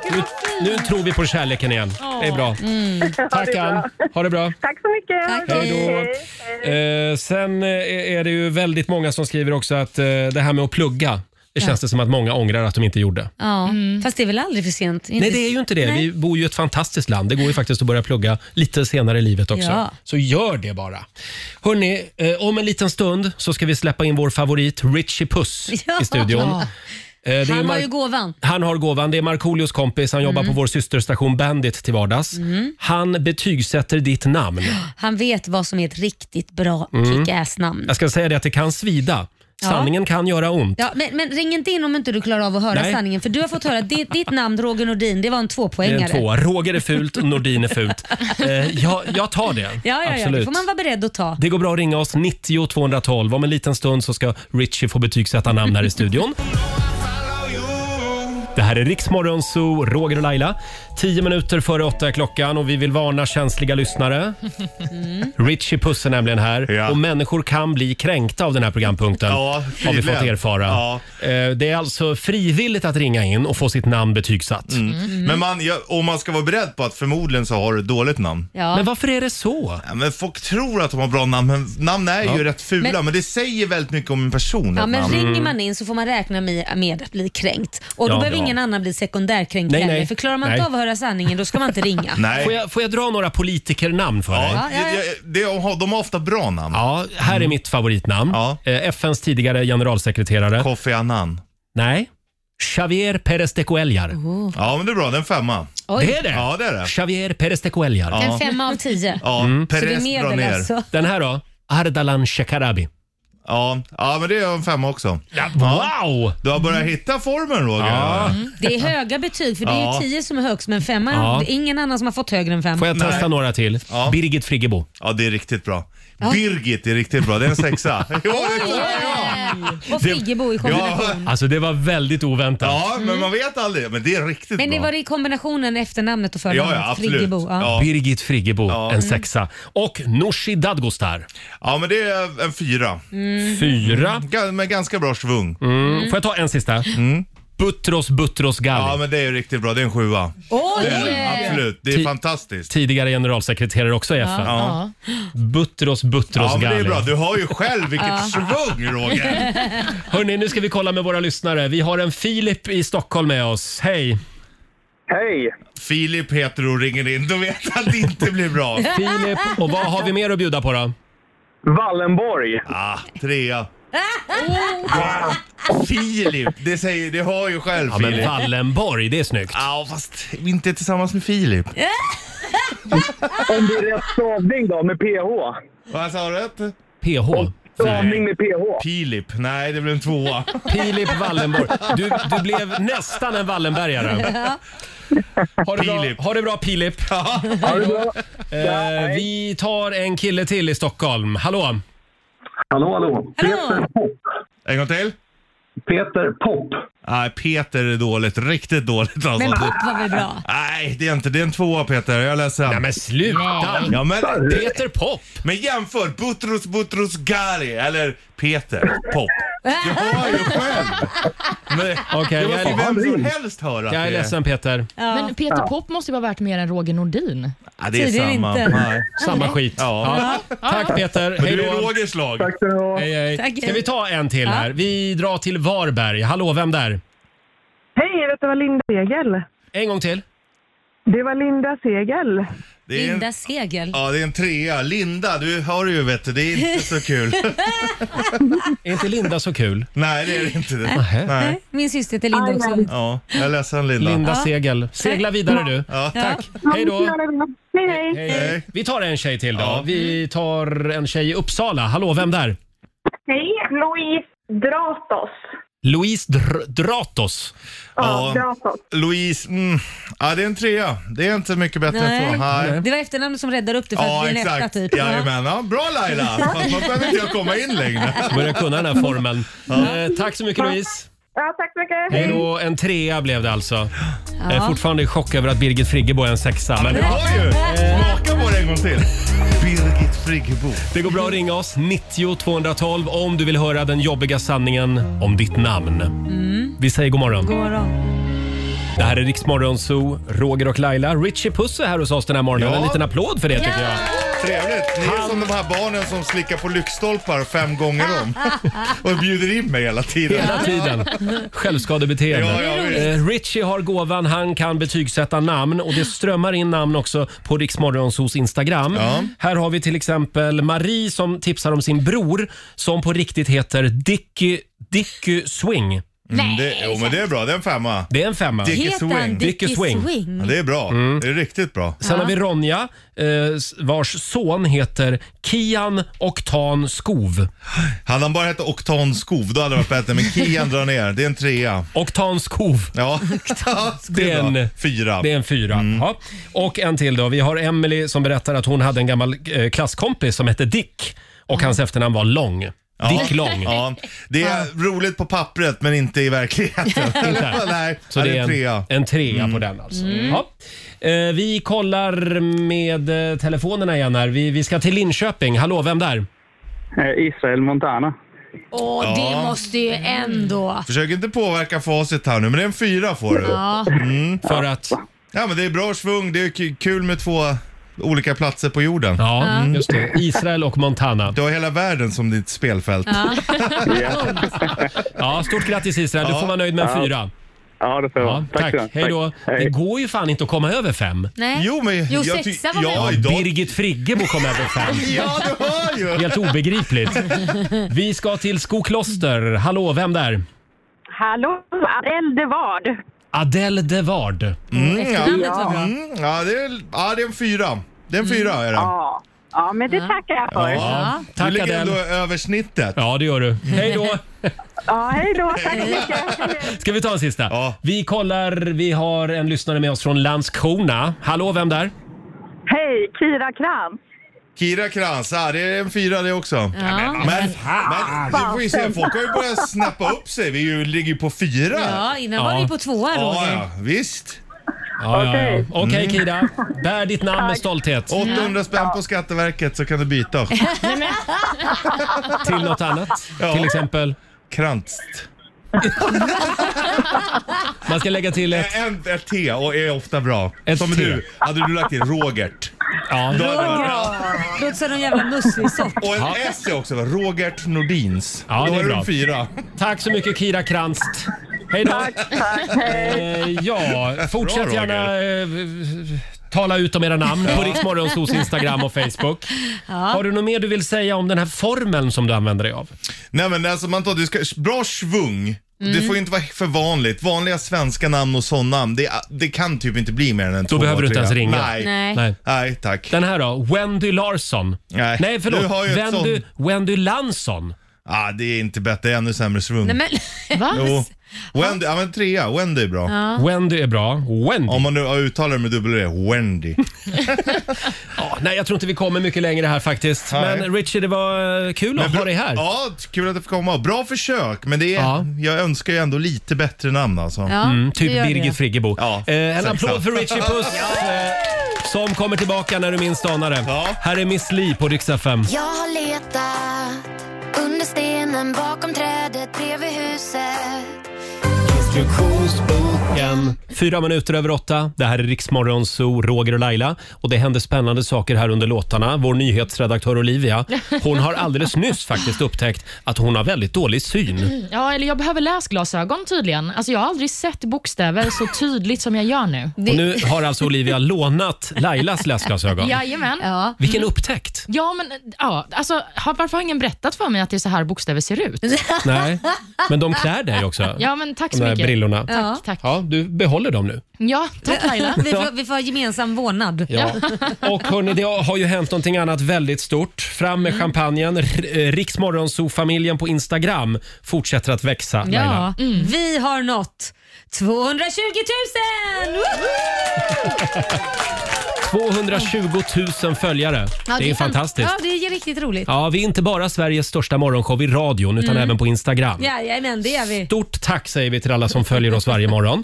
A: nu, nu tror vi på kärleken igen. Det är bra.
B: Mm.
E: Ja,
A: Tack
E: det är bra.
A: Ann. Ha det bra.
E: Tack så mycket.
B: Tack,
E: Ha det
A: Hej då.
E: bra.
A: Eh, sen eh, är det ju väldigt många som skriver också att eh, det här med att plugga, det känns det som att många ångrar att de inte gjorde.
B: Ja, fast det är väl aldrig för sent? Inte-
A: Mm. Nej, det är ju inte det. Vi bor ju i ett fantastiskt land. Det går ju faktiskt att börja plugga lite senare i livet också.
B: Ja.
A: Så gör det bara. Hörni, eh, om en liten stund så ska vi släppa in vår favorit Richie Puss
B: Ja.
A: i studion. Eh, det är
B: Han har
A: Mar-
B: ju gåvan.
A: Han har gåvan. Det är Markoolios kompis. Han jobbar på
B: Mm.
A: vår systerstation Bandit till vardags. Han betygsätter ditt namn.
B: Han vet vad som är ett riktigt bra
A: Mm.
B: kick-ass-namn.
A: Jag ska säga det att det kan svida. Sanningen kan göra ont.
B: Ja, men, men ring inte in om inte du klarar av att höra
A: Nej.
B: sanningen. För du har fått höra att ditt, ditt namn, Roger Nordin, det var en
A: Det är
B: tvåpoängare.
A: en tvåa. Roger är fult, Nordin är fult. Eh, jag, jag tar det.
B: Ja, ja, ja,
A: Absolut.
B: det får man vara beredd att ta.
A: Det går bra att ringa oss, 90 212. Om en liten stund så ska Richie få betygsätta namn här i studion. Det här är Riksmorgon Zoo, Roger och Laila. 10 minuter före åtta är klockan och vi vill varna känsliga lyssnare. Richie Puss är nämligen här
J: Ja.
A: och människor kan bli kränkta av den här programpunkten. har
J: Ja,
A: vi
J: tydligen.
A: fått erfara.
J: Ja.
A: Eh, Det är alltså frivilligt att ringa in och få sitt namn betygsatt.
J: Men man, ja, och man ska vara beredd på att förmodligen så har du ett dåligt namn.
B: Ja.
A: Men varför är det så?
J: Ja, men folk tror att de har bra namn, men namn är ju rätt fula.
B: Men-
J: Men, det säger väldigt mycket om en person.
B: Ja,
J: ett
B: men
J: namn.
B: ringer man in så får man räkna med, med att bli kränkt. Och då
A: Mm. Ja,
B: behöver
A: ja.
B: ingen annan bli sekundärkränkt
A: Nej,
B: heller.
A: nej.
B: För klarar man
A: Nej.
B: inte av att höra sanningen, då ska man inte ringa.
J: Nej.
A: Får jag, får jag dra några politikernamn för dig?
J: Ja,
B: Ja, ja, ja.
J: det- Det, de har ofta bra namn.
A: Ja, här är mitt favoritnamn.
J: Mm. Ja.
A: Eh, FNs tidigare generalsekreterare.
J: Kofi Annan.
A: Nej. Javier Pérez de Cuellar.
J: Ja, men det är bra. Den femma.
B: Oj.
A: Det är det?
J: Ja, det är det.
A: Javier Pérez de Cuellar.
B: En femma av tio.
J: Ja,
B: Så det är
J: Perez drar
B: medel
J: ner.
B: alltså.
A: Den här då? Ardalan Shekarabi.
J: Ja, ja, men det är en femma också.
A: Wow!
J: Du har
B: Mm.
J: börjat hitta formen Roger.
A: Ja.
B: Det är höga betyg för det är ju
J: Ja.
B: tio som är högst men femma,
A: Ja.
B: det är ingen annan som har fått högre än fem.
A: Får jag testa
J: Nej.
A: några till?
J: Ja.
A: Birgit Friggebo.
J: ja, det är riktigt bra. Birgit är riktigt bra. Det är en sexa. Jo, det
B: Oj,
J: kommer jag.
B: Och Friggebo i kombination.
J: ja,
A: Alltså det var väldigt oväntat.
J: ja, men man vet aldrig. Men det är riktigt
B: Mm. Men det
J: bra.
B: var i kombinationen efternamnet och
J: Ja,
B: förnamnet.
J: ja, absolut.
B: Friggebo. Ja.
J: Ja.
A: Birgit Friggebo, en sexa. Och Nooshi Dadgostar,
J: Ja, men det är en fyra.
B: Mm.
A: fyra.
G: Mm.
J: Ga- Med ganska bra svung.
A: Mm. Får jag ta en sista? Butros Butros Ghali,
J: Mm. Ja, men det är ju riktigt bra. Det är en sjua. Eh,
B: Oj!
J: Absolut. Det
A: Ti-
J: är fantastiskt.
A: tidigare generalsekreterare också i FN.
J: Ja.
A: Butros Butros
J: ja, men det är
A: Ghali.
J: bra. Du har ju själv vilket svung Roger.
A: Hörni, nu ska vi kolla med våra lyssnare. Vi har en Filip i Stockholm med oss. Hej!
H: Hej!
J: Filip heter och ringer in. Då vet jag att det inte blir bra.
A: Filip, och vad har vi mer att bjuda på då?
H: Wallenborg.
J: Ah, trea. Ja, Filip, det säger du har ju själv
A: Ja, men
J: Filip.
A: Wallenborg, det är snyggt.
J: Ja, fast inte tillsammans med Filip.
H: Om det är rätt stavning då, med PH.
J: Vad sa du?
A: PH.
H: Stavning med PH.
J: Filip? Nej, det blev en tvåa.
A: Filip Wallenborg. Du, du blev nästan en Wallenbergare. Ha det bra, ha det bra Pilip. Eh, vi tar en kille till i Stockholm. Hallå!
J: Hallå, hallå. Peter Pop. En gång till. Peter Pop. Nej, Peter är dåligt. Riktigt dåligt alltså.
I: Men Pop var väl bra?
J: Nej, det är inte. Det är en tvåa Peter. Jag är ledsen. Nej
A: men sluta!
J: Ja, men,
A: Peter Pop.
J: Men jämför Butros Butros Ghali eller Peter Pop. Du hör ju själv. Men,
A: Okej,
J: det
A: jag
J: måste
A: är-
J: ju vem som helst höra.
A: Jag är ledsen, Peter.
C: Men Peter
J: Ja.
C: Pop måste ju vara värt mer än Roger Nordin.
J: Ja, det är Tydligen samma. inte. Nej.
A: Samma
J: Nej.
A: skit.
J: Ja.
A: Ja. Tack Peter.
J: Men du
A: Hej
J: är
A: då.
J: Rogers lag.
A: Tack
J: ska du ha.
A: Hej, hej.
J: Tack.
A: Ska vi ta en till
J: Ja.
A: här? Vi drar till Varberg. Hallå, vem där?
E: Hej, vet du vad Linda Segel?
A: En gång till.
E: Det var Linda Segel.
J: Det är en,
B: Segel.
J: ja, det är en trea. Linda, du hör ju vet du, det är inte så kul.
A: är inte Linda så kul?
J: Nej, det är det inte.
A: Nej.
J: Nej.
B: Min syster heter Linda också.
J: Ja, jag är ledsen Linda.
A: Linda Segel. Segla vidare du.
J: Ja.
A: Tack.
B: Ja.
A: Hej då.
E: Hej, hej.
A: Hej. Vi tar en tjej till då. Vi tar en tjej i Uppsala. Hallå, vem där?
K: Hej, Louise Dratos.
A: Louise Dr- Dratos.
K: Ja, Dratos.
J: Louise, mm, ja, det är en trea. Det är inte mycket bättre än så.
B: Nej.
J: Nej.
B: Det var efternamnet som räddade upp det för att
J: Ja,
B: bli en etta
J: exakt.
B: typ.
J: Jajamän. Ja, bra Laila. Fast man behöver inte jag komma in längre.
A: Börjar kunna den här formeln. Eh, tack så mycket Louise.
K: Ja, tack så mycket.
A: Hej då. En trea blev det alltså.
K: Ja.
A: Jag är fortfarande i chock över att Birgit Friggebo är en sexa. Men
J: Det var ju. Smaka på det en gång till. Birgit Friggebo.
A: Det går bra att ringa oss, 90 212, om du vill höra den jobbiga sanningen om ditt namn. Vi säger god morgon.
B: God morgon.
A: Det här är Riksmorgon Zoo, Roger och Laila. Richie Puss är här hos oss den här morgonen.
J: Ja.
A: En liten applåd för det tycker jag.
J: Trevligt. Ni är som de här barnen som slickar på lyktstolpar fem gånger om och bjuder in mig hela tiden.
A: Hela tiden. Självskadebeteende.
J: Ja, ja, visst.
A: Eh, Richie har gåvan, han kan betygsätta namn och det strömmar in namn också på Riksmorgonsos Instagram. Här har vi till exempel Marie som tipsar om sin bror som på riktigt heter Dicky, Dicky Swing.
J: Mm, det, jo, men det är bra. Det är en femma.
A: Det är en femma.
J: Dicky
A: Heter han
J: Swing.
A: Dicky Dicky Swing? Swing?
J: Ja, det är bra.
A: Mm.
J: Det är riktigt bra.
A: Sen har vi Ronja eh, s- vars son heter Kian Oktan Skov.
J: Hade han bara hett Oktan Skov då hade det varit bättre, men Kian drar ner. Det är en trea.
A: Oktan Skov.
J: Ja,
A: Det är en
J: fyra.
A: Det är en fyra.
J: Mm.
A: Ja. Och en till då. Vi har Emily som berättar att hon hade en gammal eh, klasskompis som hette Dick och hans efternamn var Lång.
J: Ja.
A: Dick Lång.
J: Ja. Det är roligt på pappret men inte i verkligheten.
A: Inte.
J: Nej,
A: Så det är en
J: trea.
A: trea, en trea på den alltså.
J: Mm.
A: Ja. Eh, vi kollar med eh, telefonerna igen här. Vi, vi ska till Linköping. Hallå, vem där?
H: eh, Israel Montana.
B: Åh,
J: Ja.
B: det måste ju ändå...
J: Försök inte påverka facit här nu, men det är en fyra får du.
B: Ja.
J: Mm.
A: För att?
J: Ja, men det är bra svung. Det är ku- kul med två olika platser på jorden.
A: Ja, just det. Israel och Montana.
J: Du har hela världen som ditt spelfält.
B: Ja.
A: Ja, stort grattis Israel. Du får vara nöjd med en
J: Ja.
A: fyra.
H: Ja, det får jag vara.
A: Tack.
H: ska ni ha.
A: Hej då.
H: Eh,
A: Det går ju fan inte att komma över fem.
B: Nej.
J: Jo, men
B: Jo,
J: jag ty-
B: sexa var
J: ja,
B: med.
J: idag-
A: Birgit Friggebo kom över fem.
J: Ja, du hör ju!
A: Helt obegripligt. Vi ska till Skokloster. Hallå, vem där?
K: Hallå, Adele de Ward.
A: Adele de Ward.
J: Mm, ja.
K: Efternamnet var bra.
J: Mm, ja, det är, ja, det är en fyra. Det är en fyra är det.
K: Ja. ja, men det tackar jag för.
J: Ja.
A: Tack,
J: du ligger ändå
A: Adele.
J: över snittet.
A: Ja, det gör du. Hej då!
K: Ja, hej då. Tack så mycket.
A: Ska vi ta en sista? Vi kollar. Vi har en lyssnare med oss från Landskrona. Hallå, vem där?
K: Hej, Kira Krantz.
J: Kira Krantz, ah, det är en fyra det också. Men, men du får ju se, folk har ju börjat snappa upp sig. Vi är ju, ligger ju på fyra.
B: Ja, innan var ni på tvåa,
J: Ja,
B: Roger.
J: ja, visst.
A: Ja, ja, ja. Okej Kira, bär ditt namn med stolthet.
J: 800 spänn på Skatteverket så kan du byta.
A: Till något annat? Till exempel?
J: Krantz.
A: Man ska lägga till ett...
J: Ett, ett T och är ofta bra. Som
A: T.
J: du, hade du lagt till Rogert.
A: Ja.
J: Då hade det varit bra.
B: Låter som en jävla mussig
J: Och en S är också, va? Rogert Nordins.
A: Ja,
J: Då
A: det är
J: har du
A: bra.
J: en fyra.
A: Tack så mycket Kira Krantz. Hej då! Eh, Ja, fortsätt
J: Bra, Roger.
A: gärna eh, tala ut om era namn på
J: Ja.
A: Riksmorgonsos Instagram och Facebook. Har du något mer du vill säga om den här formeln som du använder dig av?
J: Nej men alltså man tar, du ska, bra svung. Det
A: Mm.
J: får ju inte vara för vanligt. Vanliga svenska namn och sådana namn, det, det kan typ inte bli mer än en
A: Då behöver du inte ens ringa.
J: Nej.
A: Nej.
J: Nej. Nej, tack.
A: Den här då? Wendy Larsson?
J: Nej,
A: Nej, förlåt.
J: Du har ju ett
A: Wendy-
J: sånt...
A: Wendy Lansson?
J: Ah, det är inte bättre, det är ännu sämre svung.
B: Nej men...
J: Jo. Wendy, ja men trea. Wendy är bra.
B: Ja.
A: Wendy är bra. Wendy.
J: Om man nu uttalar det med dubbel E, Wendy.
A: Ja, nej, jag tror inte vi kommer mycket längre här faktiskt.
J: Nej.
A: Men Richie, det var eh, kul att
J: Men
A: ha dig här.
J: Ja, kul att jag fick komma. Bra försök, men det är,
A: Ja.
J: jag önskar ju ändå lite bättre namn alltså.
A: Ja, Mm, typ du gör Birgit det. Friggebo.
J: Ja,
A: Eh, en
J: exakt.
A: applåd för Richie Puss eh, som kommer tillbaka när du minst anar det. Här är Miss Li på Rix FM.
G: Jag har letat under stenen, bakom trädet, bredvid huset.
A: Instruktionsboken. Fyra minuter över åtta. Det här är Riksmorgon Zoo, Roger och Laila. Och det händer spännande saker här under låtarna. Vår nyhetsredaktör Olivia, hon har alldeles nyss faktiskt upptäckt att hon har väldigt dålig syn.
C: Ja, eller jag behöver läsglasögon tydligen. Alltså, jag har aldrig sett bokstäver så tydligt som jag gör nu.
A: Och nu har alltså Olivia lånat Lailas läsglasögon.
C: Jajamän.
A: Vilken upptäckt!
C: Ja, men ja, alltså, har, varför har ingen berättat för mig att det är så här bokstäver ser ut?
A: Nej, men de klär dig också.
C: Ja, men tack så
A: de där
C: mycket.
A: brillorna.
C: Tack, tack.
A: Ja, du behåller dem nu.
C: Ja, tack Laila.
B: vi, får, vi får ha gemensam vårdnad.
A: Ja. Och hörni, det har ju hänt någonting annat väldigt stort. Fram
B: Mm.
A: med champagnen. Riksmorgonzoo-familjen på Instagram fortsätter att växa. Laila.
B: Ja, mm. vi har nått 220 000! Woho!
A: 220 000 följare.
B: Ja,
A: det är
B: fan-
A: fantastiskt.
B: Ja, det är riktigt roligt.
A: Ja, vi är inte bara Sveriges största morgonshow i radion utan
B: Mm.
A: även på Instagram.
B: Jajamän, det är vi.
A: Stort tack säger vi till alla som följer oss varje morgon.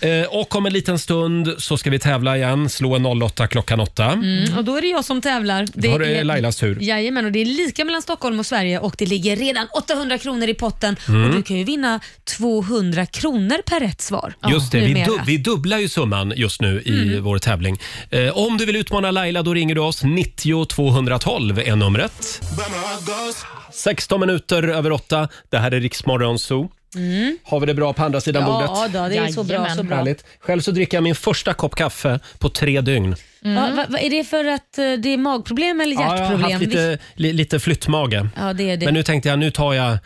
A: Eh, och om en liten stund så ska vi tävla igen. Slå en 08 klockan 8.
B: Mm, och då är det jag som tävlar.
A: Då har det Lailas tur.
B: Jajamän, och det är lika mellan Stockholm och Sverige och det ligger redan 800 kronor i potten.
A: Mm.
B: Och du kan ju vinna 200 kronor per rätt svar.
A: Just det,
B: Ja,
A: vi,
B: numera. Mm.
A: du, vi dubblar ju summan just nu i vår tävling. Eh, om du vill utmana Laila då ringer du oss. 90 212 är numret. 16 minuter över 8. Det här är Riksmorgon Zoo.
B: Mm.
A: Har vi det bra på andra sidan
B: Ja,
A: bordet?
B: då, det är så bra, Jajamän. så bra.
A: Härligt. Själv så dricker jag min första kopp kaffe på tre dygn.
B: Va, va, va, är det för att eh, det är magproblem eller
A: Mm. Ja, jag har
B: hjärtproblem?
A: haft lite, li, lite flyttmage.
B: Ja, det är det.
A: Men nu tänkte jag, nu tar jag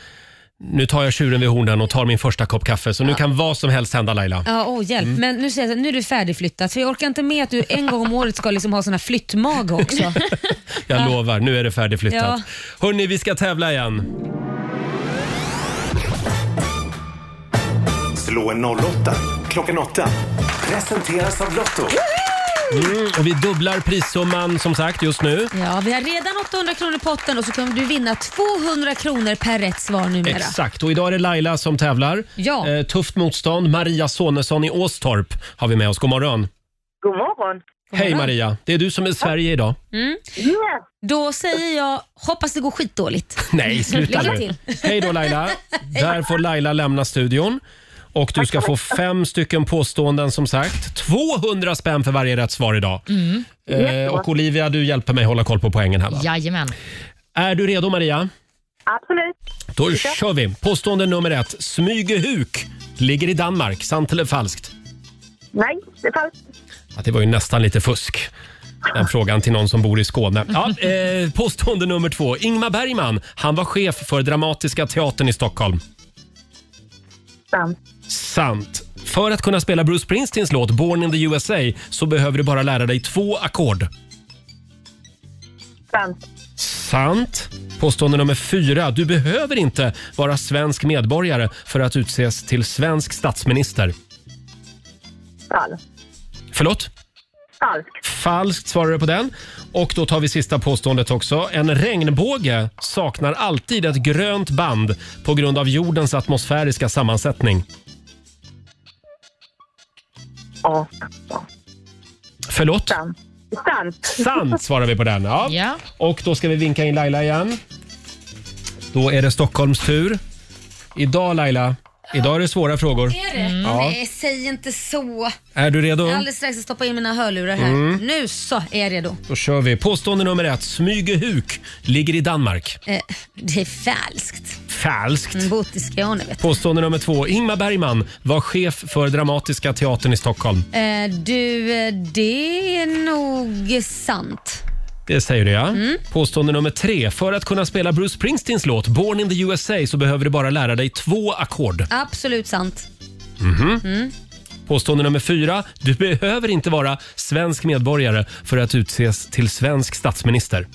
A: nu tar jag tjuren vid hornen och tar min första kopp kaffe. Så nu kan vad som helst hända Laila.
B: Ja, åh hjälp.
A: Mm.
B: Men nu säger jag så här, nu är du färdigflyttad. För jag orkar inte med att du en gång om året ska liksom ha sån här flyttmag också.
A: Jag lovar, nu är det färdigflyttat.
B: Ja.
A: Hörni, vi ska tävla igen.
D: Slå en 08 klockan 8. Presenteras av Lotto.
A: Mm, och vi dubblar prissumman som sagt just nu.
B: Ja, vi har redan 800 kronor i potten och så kan du vinna 200 kronor per rätt svar numera.
A: Exakt, och idag är det Laila som tävlar.
B: Ja.
A: Eh, tufft motstånd. Maria Sonesson i Åstorp har vi med oss. God morgon.
B: God morgon.
A: Hej Maria, det är du som är Sverige idag.
B: Mm. Då säger jag, hoppas det går skitdåligt.
A: Nej, sluta
B: Lycka
A: nu.
B: till.
A: Hej då Laila. Där får Laila lämna studion. Och du ska få fem stycken påståenden som sagt. 200 spänn för varje rätt svar idag.
C: Mm.
A: Eh, och Olivia, du hjälper mig hålla koll på poängen här va?
C: Jajamän.
A: Är du redo Maria?
K: Absolut.
A: Då kör vi. Påstående nummer ett. Smygehuk ligger i Danmark. Sant eller falskt?
K: Nej, det är falskt.
A: Ja, det var ju nästan lite fusk. Den frågan till någon som bor i Skåne. Ja, eh, påstående nummer två. Ingmar Bergman, han var chef för Dramatiska teatern i Stockholm.
K: Sant.
A: Sant. För att kunna spela Bruce Springsteens låt Born in the USA så behöver du bara lära dig två ackord.
K: Sant.
A: Sant. Påstående nummer fyra. Du behöver inte vara svensk medborgare för att utses till svensk statsminister.
K: Falskt.
A: Förlåt?
K: Falskt.
A: Falskt svarar du på den. Och då tar vi sista påståendet också. En regnbåge saknar alltid ett grönt band på grund av jordens atmosfäriska sammansättning.
K: Ja.
A: Förlåt?
K: Sant. Sant.
A: Sant svarar vi på den. Ja. Och då ska vi vinka in Laila igen. Då är det Stockholms tur. Idag Laila, idag är det svåra frågor.
B: Är det?
A: Ja.
B: Nej, säg inte så.
A: Är du redo?
B: Jag är alldeles strax att stoppa in mina hörlurar här.
A: Mm.
B: Nu så är jag redo.
A: Då kör vi. Påstående nummer ett. Smygehuk ligger i Danmark.
B: Eh, det är falskt.
A: Falskt.
B: Mm, Bott i Skåne vet
A: Påstående nummer två. Ingmar Bergman var chef för Dramatiska teatern i Stockholm.
B: du. Eh, du, eh, det är nog sant.
A: Det säger du ja.
B: Mm.
A: Påstående nummer tre. För att kunna spela Bruce Springsteens låt Born in the USA så behöver du bara lära dig två ackord.
B: Absolut sant.
A: Mhm.
B: Mm.
A: Påstående nummer fyra. Du behöver inte vara svensk medborgare för att utses till svensk statsminister.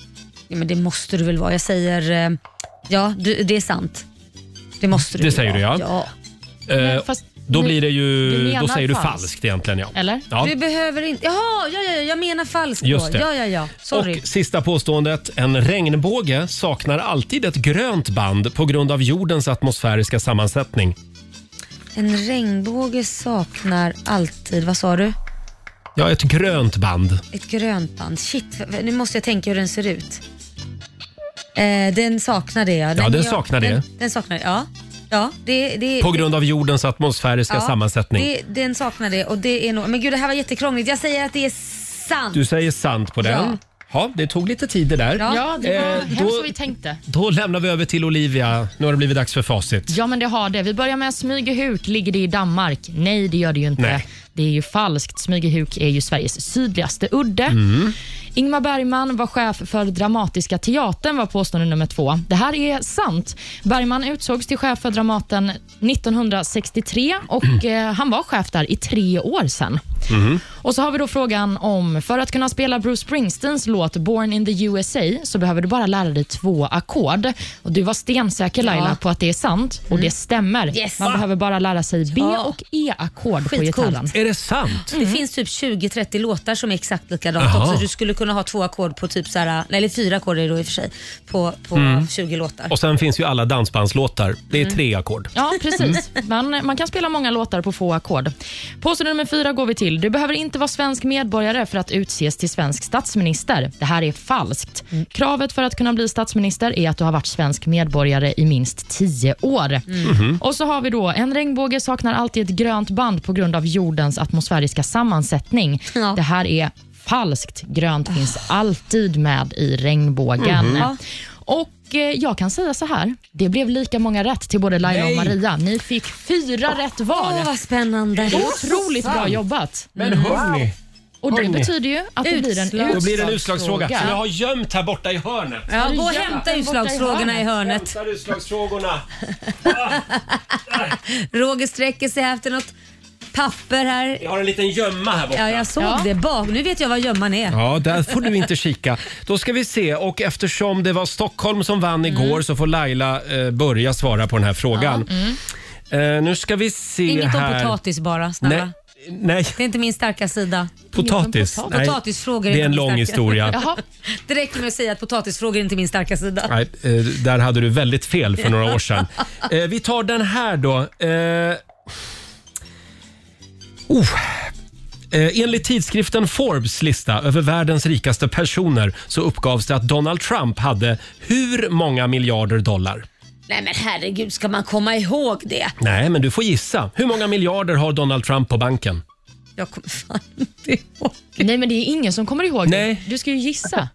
B: Ja, men det måste du väl vara. Jag säger, eh, ja du, det är sant. Det måste du
A: Det
B: väl
A: säger du
B: vara.
A: ja.
B: ja.
A: Eh,
C: fast
A: då
C: du-
A: blir det
C: du
A: ju... Då
B: menar
A: säger du
B: falskt.
A: falskt egentligen ja.
C: Eller?
A: Ja.
B: Du behöver inte... Jaha, ja, ja, ja, jag menar falskt då.
A: Just det.
B: Ja, ja, ja. Sorry.
A: Och sista påståendet. En regnbåge saknar alltid ett grönt band på grund av jordens atmosfäriska sammansättning.
B: En regnbåge saknar alltid, vad sa du?
A: Ja, ett grönt band.
B: Ett grönt band. Shit, nu måste jag tänka hur den ser ut. Eh, den saknar det ja.
A: Ja, den
B: gör-
A: saknar det.
B: Den, den saknar det, ja. Ja, det, det,
A: På grund av jordens atmosfäriska sammansättning.
B: Det, den saknar det och det är nog... Men gud, det här var jättekrångligt. Jag säger att det är sant.
A: Du säger sant på den.
B: Ja.
A: Ja, det tog lite tid det där.
C: Ja, det var
A: Eh,
C: hemskt
A: då,
C: vad vi tänkte.
A: då lämnar vi över till Olivia. Nu har det blivit dags för facit.
C: Ja, men det har det. Vi börjar med Smygehuk. Ligger det i Danmark? Nej, det gör det ju inte.
A: Nej.
C: Det är ju falskt. Smygehuk är ju Sveriges sydligaste udde.
A: Mm.
C: Ingmar Bergman var chef för Dramatiska teatern, var påstående nummer två. Det här är sant. Bergman utsågs till chef för Dramaten 1963 och
A: Mm.
C: eh, han var chef där i tre år sen. Och så har vi då frågan om, för att kunna spela Bruce Springsteens låt Born in the USA så behöver du bara lära dig två ackord. Och Du var stensäker Laila på att det är sant och det stämmer.
B: Mm. Yes.
C: Man
B: Va?
C: behöver bara lära sig B
B: Ja.
C: och E-ackord på
B: Skitcoolt.
C: gitarren.
A: Är det sant?
B: Det finns typ 20-30 låtar som är exakt likadant
A: Jaha.
B: också. Du skulle kunna ha två ackord på typ så här, eller fyra ackord är det då i och för sig, på, på
A: Mm.
B: 20 låtar.
A: Och sen finns ju alla dansbandslåtar. Det är
C: Mm.
A: tre ackord.
C: Ja, precis. Man, man kan spela många låtar på få ackord. Påstående nummer fyra går vi till. Du behöver inte vara svensk medborgare för att utses till svensk statsminister. Det här är falskt. Kravet för att kunna bli statsminister är att du har varit svensk medborgare i minst tio år.
G: Mhm.
C: Och så har vi då, en regnbåge saknar alltid ett grönt band på grund av jordens atmosfäriska sammansättning. Det här är falskt. Grönt finns alltid med i regnbågen.
G: Mhm. Ja.
C: Och eh, jag kan säga så här, det blev lika många rätt till både Laila och
G: Nej.
C: Maria. Ni fick fyra rätt var.
B: Åh, vad spännande.
C: Ah. Det är otroligt bra jobbat.
A: Men
B: Mm.
A: hörni.
C: Och det
A: hörni.
C: betyder ju att det blir en utslagsfråga.
A: Då blir det en utslagsfråga som jag har gömt här borta i hörnet.
B: Ja, gå och hämta utslagsfrågorna i hörnet.
A: Hämtar utslagsfrågorna.
B: Roger sträcker sig efter något papper här.
A: Jag har en liten gömma här borta.
B: Ja, jag såg det. Bak. Nu vet jag vad gömman är.
A: Ja, där får du inte kika. Då ska vi se. Och eftersom det var Stockholm som
B: Mm.
A: vann igår så får Laila eh, börja svara på den här frågan. Eh, nu ska vi se
B: mm. Inget om
A: här.
B: potatis bara, snälla.
A: Nej, nej.
B: Det är inte min starka sida.
A: Potatis?
B: Inget om
A: Nej.
B: potatis. Potatisfrågor
A: Det är en
B: inte min
A: lång
B: starka-
A: historia. Jaha.
B: Det räcker med att säga att potatisfrågor är inte min starka sida.
A: Nej, eh, där hade du väldigt fel för några år sedan. Eh, vi tar den här då. Eh, oh. Eh, Enligt tidskriften Forbes lista över världens rikaste personer så uppgavs det att Donald Trump hade hur många miljarder dollar?
B: Nej men herregud, ska man komma ihåg det?
A: Nej, men du får gissa. Hur många miljarder har Donald Trump på banken?
B: Jag kommer fan
C: Nej, men det är ingen som kommer ihåg
A: Nej.
C: det. Du ska ju gissa.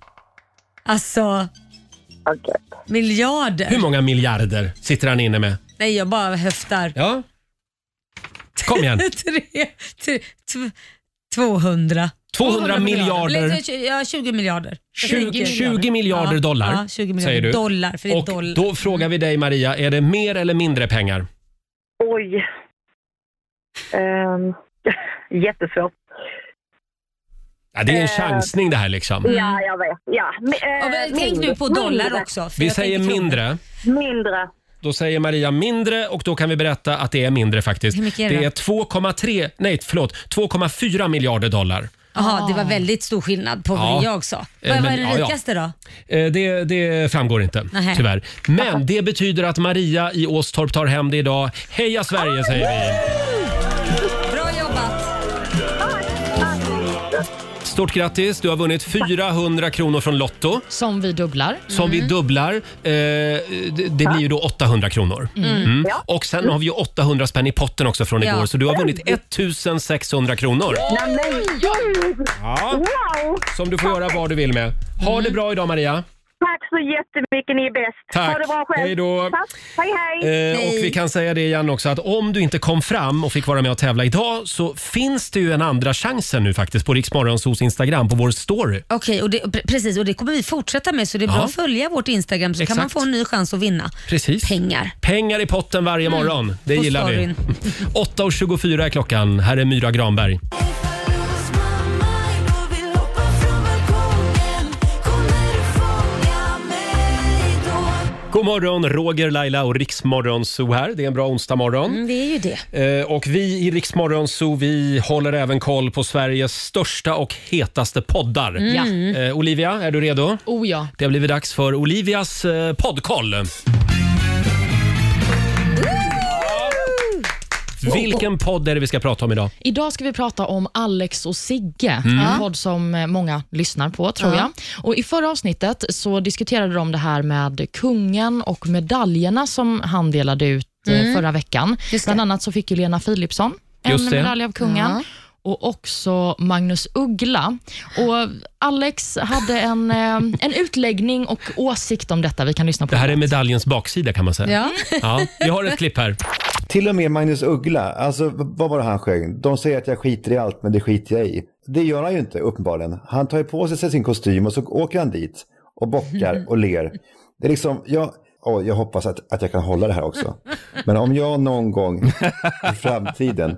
B: Alltså... Miljarder?
A: Hur många miljarder sitter han inne med?
B: Nej, jag bara höftar.
A: Ja. Kom igen.
B: tre, tre, tv- 200.
A: 200 miljarder.
B: Eller, tj- Ja, 20 miljarder.
A: 20, 20 miljarder
B: Ja,
A: dollar
B: Ja, 20 miljarder
A: säger du.
B: dollar. För det är
A: Och
B: dollar.
A: då frågar vi dig Maria, är det mer eller mindre pengar?
K: Oj. Um, jättesvårt.
A: Ja, det är en
K: Eh,
A: chansning det här liksom.
K: Ja, jag vet. Ja. men,
B: Mm. Ja,
K: eh,
B: men tänk nu på
K: mindre.
B: dollar också. för
A: Vi
B: jag
A: säger
B: tänker kronor.
A: mindre.
K: Mindre.
A: Då säger Maria mindre och då kan vi berätta att det är mindre faktiskt.
B: Hur mycket är det
A: det
B: då?
A: är 2,3, nej förlåt, 2,4 miljarder dollar.
B: Jaha,
K: Ah.
B: det var väldigt stor skillnad på
A: Ja.
B: vad jag sa.
A: Eh,
B: Vad vad
A: men-
B: är den
A: ja, ja.
B: rikaste då?
A: Eh, Det, det framgår inte,
B: Nähä.
A: tyvärr. Men det betyder att Maria i Åstorp tar hem det idag. Heja Sverige säger vi!
B: Bra jobbat!
A: Stort grattis, du har vunnit 400 kronor från Lotto.
C: Som vi dubblar.
A: Som vi dubblar. Eh, det det blir ju då 800 kronor.
C: Mm. Ja.
A: Och sen har vi ju 800 spänn i potten också från
K: Ja.
A: igår. Så du har vunnit 1600 kronor.
K: Nej, men gud!
A: Ja.
K: Wow!
A: Som du får göra vad du vill med. Ha det bra idag Maria.
K: Tack så jättemycket, ni är bäst.
A: Tack.
K: Ha det bra själv.
A: Hej då.
K: Tack. Hej, hej.
A: Eh, och vi kan säga det igen också att om du inte kom fram och fick vara med och tävla idag så finns det ju en andra chansen nu faktiskt på Riksmorgonsos Instagram på vår story.
B: Okej, och det, pre- precis och det kommer vi fortsätta med så det är bra
A: Ja.
B: att följa vårt Instagram så
A: Exakt.
B: kan man få en ny chans att vinna.
A: Precis.
B: Pengar.
A: Pengar i potten varje
B: Mm.
A: morgon. Det
B: På
A: gillar
B: storyn.
A: vi. 8.24 är klockan. Här är Myra Granberg. God morgon, Roger, Laila och Riksmorgon Zoo här. Det är en bra onsdagmorgon.
B: Mm, det är ju det.
A: Eh, Och vi i Riksmorgon Zoo, vi håller även koll på Sveriges största och hetaste poddar.
C: Mm.
A: Eh, Olivia, är du redo?
C: Oh ja.
A: Det har blivit dags för Olivias eh, poddkoll. Vilken podd är det vi ska prata om idag?
C: Idag ska vi prata om Alex och Sigge,
A: Mm. Ja.
C: en podd som eh, många lyssnar på tror
A: Ja.
C: jag. Och I förra avsnittet så diskuterade de det här med kungen och medaljerna som han delade ut eh,
L: Mm.
C: förra veckan. Bland annat så fick ju Lena Philipsson en
L: Just det.
C: medalj av kungen.
L: Ja.
C: och också Magnus Uggla. Och Alex hade en, eh, en utläggning och åsikt om detta. Vi kan lyssna på
A: Det här är medaljens baksida kan man säga.
C: Ja.
A: ja vi har ett klipp här.
M: Till och med Magnus Uggla, alltså v- vad var det han sjöng? De säger att jag skiter i allt, men det skiter jag i. Det gör han ju inte, uppenbarligen. Han tar ju på sig sin kostym och så åker han dit och bockar och ler. Det är liksom, jag, åh, jag hoppas att, att jag kan hålla det här också. Men om jag någon gång i framtiden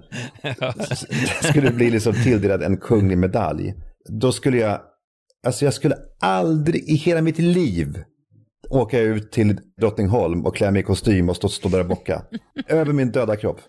M: s- skulle bli liksom tilldelad en kunglig medalj, då skulle jag, alltså jag skulle aldrig i hela mitt liv åka ut till Drottningholm och klä mig i kostym och stå, stå där och bocka. Över min döda kropp.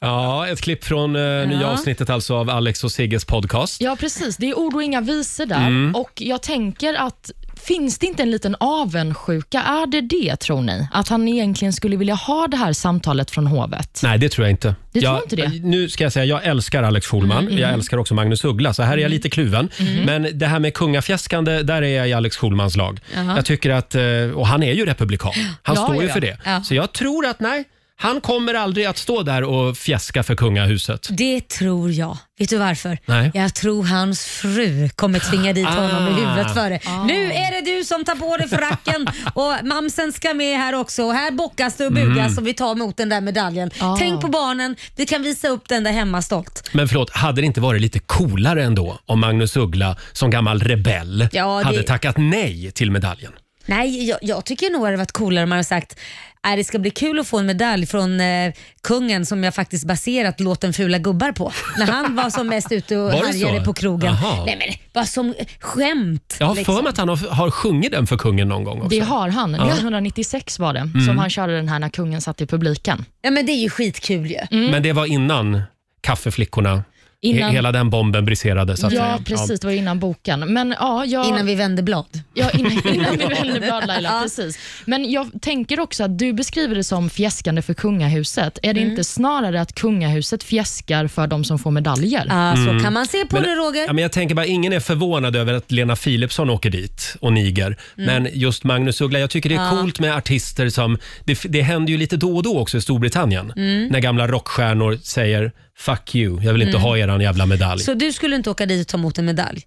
A: Ja, ett klipp från eh, nya
C: Ja.
A: avsnittet alltså av Alex och Sigges podcast.
C: Ja, precis. Det är ord och inga visor där.
A: Mm.
C: Och jag tänker att Finns det inte en liten avundsjuka? Är det det, tror ni? Att han egentligen skulle vilja ha det här samtalet från hovet?
A: Nej, det tror jag inte.
C: Du tror
A: jag,
C: inte det?
A: Nu ska jag säga, jag älskar Alex Schulman.
C: Mm, mm.
A: Jag älskar också Magnus Uggla, så här är jag lite kluven.
C: Mm.
A: Men det här med kungafjäskande, där är jag i Alex Schulmans lag.
L: Jaha.
A: Jag tycker att, eh, och han är ju republikan. Han
L: Ja,
A: står ju
L: ja, ja.
A: för det.
L: Ja.
A: Så jag tror att, nej, han kommer aldrig att stå där och fjäska för kungahuset.
B: Det tror jag. Vet du varför?
A: Nej.
B: Jag tror hans fru kommer tvinga dit honom i
A: Ah.
B: huvudet för det. Nu är det du som tar på dig fracken och mamsen ska med här också. Och här bockas det och bugas
A: Mm.
B: och vi tar emot den där medaljen. Tänk på barnen, vi kan visa upp den där hemma stolt.
A: Men förlåt, hade det inte varit lite coolare ändå om Magnus Uggla som gammal rebell
B: Ja, det-
A: hade tackat nej till medaljen?
B: Nej, jag, jag tycker nog det hade varit coolare om man hade sagt "Nej, det ska bli kul att få en medalj från eh, kungen som jag faktiskt baserat låten Fula gubbar på. När han var som mest ute
A: Var
B: och
A: det så?
B: härjade på krogen.
A: Jaha.
B: Nej men bara som eh, skämt.
A: Jag har för
B: liksom.
A: mig att han har, har sjungit den för kungen någon gång också.
C: Det har han.
A: Ja.
C: 1996 var det,
A: Mm.
C: som han körde den här när kungen satt i publiken.
B: Ja men det är ju skitkul ju.
C: Mm.
A: Men det var innan kaffeflickorna,
C: Innan-
A: he- hela den bomben briserade. Så att
C: Ja,
A: säga.
C: precis. Det var ju innan boken. Men, ja, jag...
B: Innan vi vände blad.
C: Ja, innan, innan vi vänder blad Laila.
B: Ja.
C: Precis. Men jag tänker också att du beskriver det som fjäskande för kungahuset. Är det
B: Mm.
C: inte snarare att kungahuset fjäskar för de som får medaljer?
B: Ja,
A: Mm. men, Ja,
B: Roger.
A: men jag tänker bara, ingen är förvånad över att Lena Philipsson åker dit och niger.
B: Mm.
A: Men just Magnus Uggla, jag tycker det är
B: Ja.
A: coolt med artister som... Det, det händer ju lite då och då också i Storbritannien.
B: Mm.
A: När gamla rockstjärnor säger “fuck you, jag vill inte
B: Mm.
A: ha eran jävla medalj”.
B: Så du skulle inte åka dit och ta emot en medalj?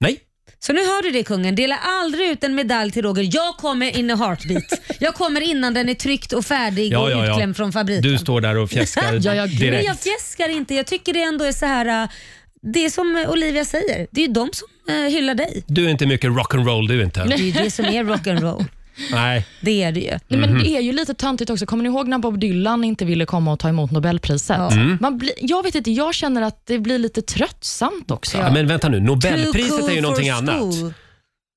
A: Nej.
B: Så nu hör du det kungen, dela aldrig ut en medalj till Roger. Jag kommer in a heartbeat. Jag kommer innan den är tryckt och färdig och utklämd från fabriken.
A: Du står där och fjäskar
B: Men
A: direkt.
B: jag fjäskar inte. Jag tycker det ändå är så här. äh, Det är som äh, Olivia säger, det är ju de som äh, hyllar dig.
A: Du är inte mycket rock'n'roll du inte.
B: Det är ju det som är rock'n'roll.
A: Nej.
B: Det är det ju.
C: Nej, men
A: Mhm.
C: det är ju lite töntigt också. Kommer ni ihåg när Bob Dylan inte ville komma och ta emot Nobelpriset?
A: Ja. Mm.
C: Man blir, jag vet inte, jag känner att det blir lite tröttsamt också.
A: Ja, men vänta nu, Nobelpriset
C: Too cool
A: är ju någonting
C: for
A: annat.
C: school.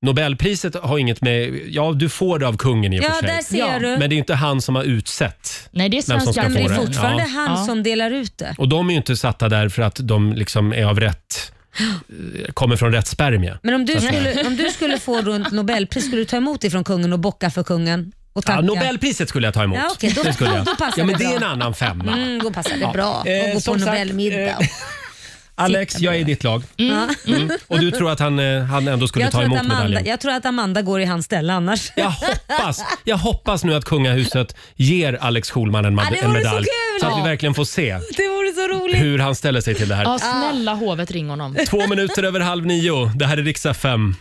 A: Nobelpriset har inget med... Ja, du får det av kungen i och
B: Ja,
A: för sig.
B: där ser Ja. du.
A: Men det är ju inte han som har utsett
C: Nej, det är
A: vem som ska
B: Men det
A: få
B: är
A: det.
B: fortfarande
A: Ja.
B: han som delar ut det.
A: Och de är ju inte satta där för att de liksom är av rätt... eh, Kommer från rätt spermie.
B: Men om
A: så
B: du,
A: att säga.
B: skulle, om du skulle få runt Nobelpris, skulle du ta emot det från kungen och bocka för kungen? Och tacka?
A: Ja, Nobelpriset skulle jag ta emot.
B: Ja, okej, då-
A: det skulle
B: då- då passar
A: ja, men
B: det
A: det är en
B: bra.
A: annan femma.
B: Mm, då passar det
A: Ja.
B: bra.
A: Eh,
B: och gå
A: som
B: på
A: sagt,
B: Nobelmiddag.
A: Alex, jag är i ditt lag.
B: Ja.
A: Mm. Och du tror att han, eh, han ändå skulle
B: jag,
A: ta
B: tror
A: emot
B: att Amanda,
A: medaljen?
B: jag tror att Amanda går i hans ställe annars.
A: Jag hoppas, jag hoppas nu att kungahuset ger Alex Schulman en,
B: Ja,
A: med-
B: det
A: en
B: vore så
A: medalj.
B: kul!
A: Så, att vi
B: Ja.
A: verkligen får se
B: Det vore så roligt.
A: hur han ställer sig till det här.
C: Ja, snälla hovet, ring honom.
A: Två minuter över halv nio. Det här är riksdag 5.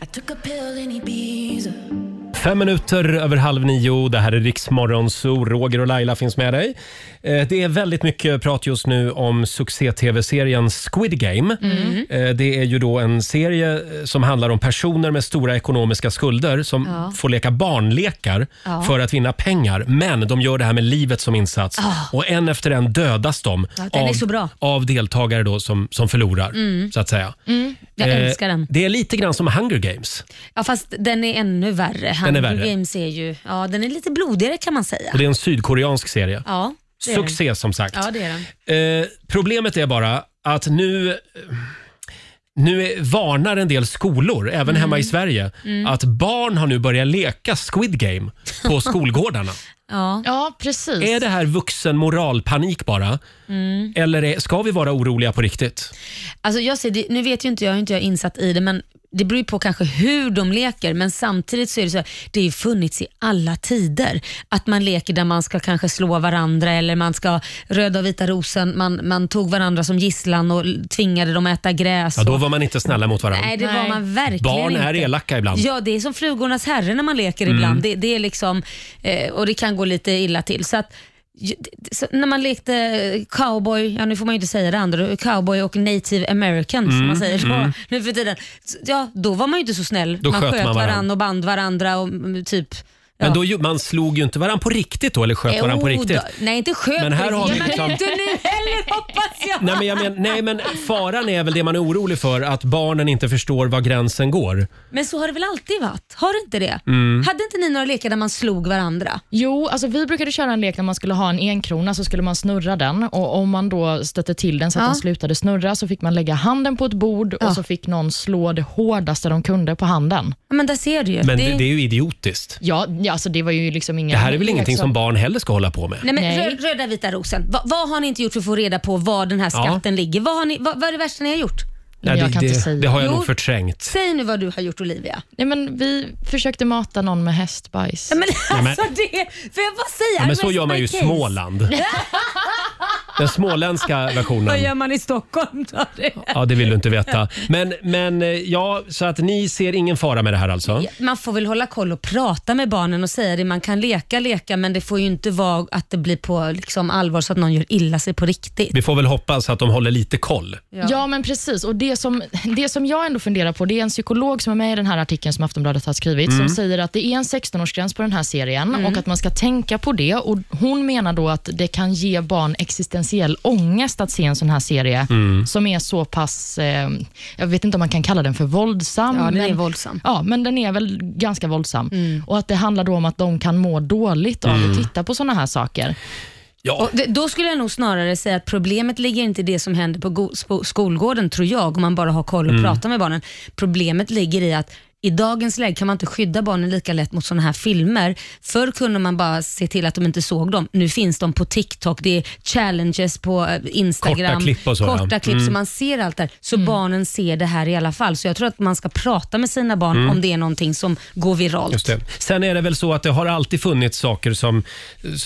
A: Fem minuter över halv nio. Det här är Riksmorgon Zoo. Roger och Laila finns med dig. Eh, Det är väldigt mycket prat just nu om succé-tv-serien Squid Game.
L: Mm.
A: Eh, Det är ju då en serie eh, som handlar om personer med stora ekonomiska skulder som
L: Ja.
A: får leka barnlekar
L: Ja.
A: för att vinna pengar. Men de gör det här med livet som insats
L: Ah.
A: och en efter en dödas de
B: Ja, den är så bra.
A: av deltagare då som, som förlorar,
B: Mm.
A: så att säga.
B: Mm, jag
A: Eh,
B: älskar den.
A: Det är lite grann som Hunger Games.
B: Ja, fast den är ännu värre.
A: Den är
B: Hunger
A: värre.
B: Games är ju, ja den är lite blodigare kan man säga.
A: Och det är en sydkoreansk serie.
B: Ja, det är den.
A: Succé som sagt.
B: Ja, det är den.
A: Eh, problemet är bara att nu, nu är, varnar en del skolor, även hemma i Sverige,
C: Mm.
A: att barn har nu börjat leka Squid Game på skolgårdarna.
B: Ja,
C: precis.
A: Är det här vuxen moralpanik bara?
B: Mm.
A: Eller är, ska vi vara oroliga på riktigt?
B: Alltså jag ser, det, nu vet ju inte jag, jag är inte jag insatt i det, men det beror ju på kanske hur de leker, men samtidigt så är det så här, det har ju funnits i alla tider. Att man leker där man ska kanske slå varandra eller man ska röda och vita rosen, man, man tog varandra som gisslan och l- tvingade dem att äta gräs.
A: Ja, då
B: och-
A: var man inte snälla mot varandra.
B: Nej, det var man verkligen
A: Barn
B: inte.
A: är elaka ibland.
B: Ja, det är som flugornas herre när man leker
A: Mm.
B: ibland. Det, det är liksom, eh, och det kan gå lite illa till. Så att, ju- det- så när man lekte cowboy, ja nu får man ju inte säga det andra, cowboy och native american som
A: Mm,
B: man säger då,
A: mm.
B: nu för tiden. Så, Ja, då var man ju inte så snäll.
A: Då
B: man
A: sköt
B: sköt
A: man
B: varandra
A: varann.
B: och band varandra och mm, typ.
A: Men då, ju- man slog ju inte varandra på riktigt då, eller sköt
B: Eh,
A: varandra på
B: oh,
A: riktigt.
B: då- Nej, inte sköt
A: Men här
B: på
A: har
B: riktigt.
A: vi
B: Ja, men
A: liksom-
B: inte nu heller hoppas jag.
A: Nej men, jag men, nej men faran är väl det man är orolig för, att barnen inte förstår var gränsen går.
B: Men så har det väl alltid varit? Har det inte det?
A: Mm.
B: Hade inte ni några lekar där man slog varandra?
C: Jo, alltså vi brukade köra en lek när man skulle ha en enkrona så skulle man snurra den och om man då stötte till den så att
B: Ja.
C: den slutade snurra så fick man lägga handen på ett bord och så fick någon slå det hårdaste de kunde på handen.
B: Ja, Men där ser du ju.
A: Men det, det är ju idiotiskt.
C: Ja, ja alltså det var ju liksom inga...
A: Det här är väl ingenting som
C: leksak.
A: barn heller ska hålla på med?
B: Nej, men rö- Röda vita rosen. Va, vad har ni inte gjort för att få reda på var den här
A: Ja.
B: skatten ligger? Vad, har ni, vad, vad är det värsta ni har gjort?
A: Nej, det, det, det har jag
B: Jo,
A: nog förträngt.
B: Säg nu vad du har gjort Olivia.
C: Nej, men vi försökte mata någon med hästbajs.
B: Men
A: men-
B: alltså det, för jag bara säga,
A: Ja, men så
B: rest
A: gör man
B: my
A: ju i
B: case.
A: Småland. Den småländska
B: Vad
A: versionen.
B: gör man i Stockholm då?
A: Ja, det vill du inte veta. Men, men eh, ja, så att ni ser ingen fara med det här alltså?
B: Man får väl hålla koll och prata med barnen och säga det. Man kan leka, leka, men det får ju inte vara att det blir på liksom, allvar så att någon gör illa sig på riktigt.
A: Vi får väl hoppas att de håller lite koll.
C: Ja. men precis. Och det som, det som jag ändå funderar på, det är en psykolog som är med i den här artikeln som Aftonbladet har skrivit,
A: Mm.
C: som säger att det är en 16-årsgräns på den här serien
A: Mm.
C: och att man ska tänka på det. Och Hon menar då att det kan ge barn existentiell ångest att se en sån här serie,
A: Mm.
C: som är så pass, eh, jag vet inte om man kan kalla den för våldsam.
B: Ja, den är
C: men,
B: våldsam. Mm.
C: Ja, men den är väl ganska våldsam. Och att det handlar då om att de kan må dåligt av
A: Mm.
C: att titta på såna här saker.
B: Och det, då skulle jag nog snarare säga att problemet ligger inte i det som händer på go- spo- skolgården, tror jag, om man bara har koll och
A: Mm.
B: pratar med barnen. Problemet ligger i att i dagens läge kan man inte skydda barnen lika lätt mot sådana här filmer. Förr kunde man bara se till att de inte såg dem. Nu finns de på TikTok, det är challenges på eh, Instagram.
A: Korta klipp och så, ja.
B: Korta klipp,
A: Mm.
B: så man ser allt där. Så barnen ser det här i alla fall. Så jag tror att man ska prata med sina barn
A: Mm.
B: om det är någonting som går viralt.
A: Just det. Sen är det väl så att det har alltid funnits saker som,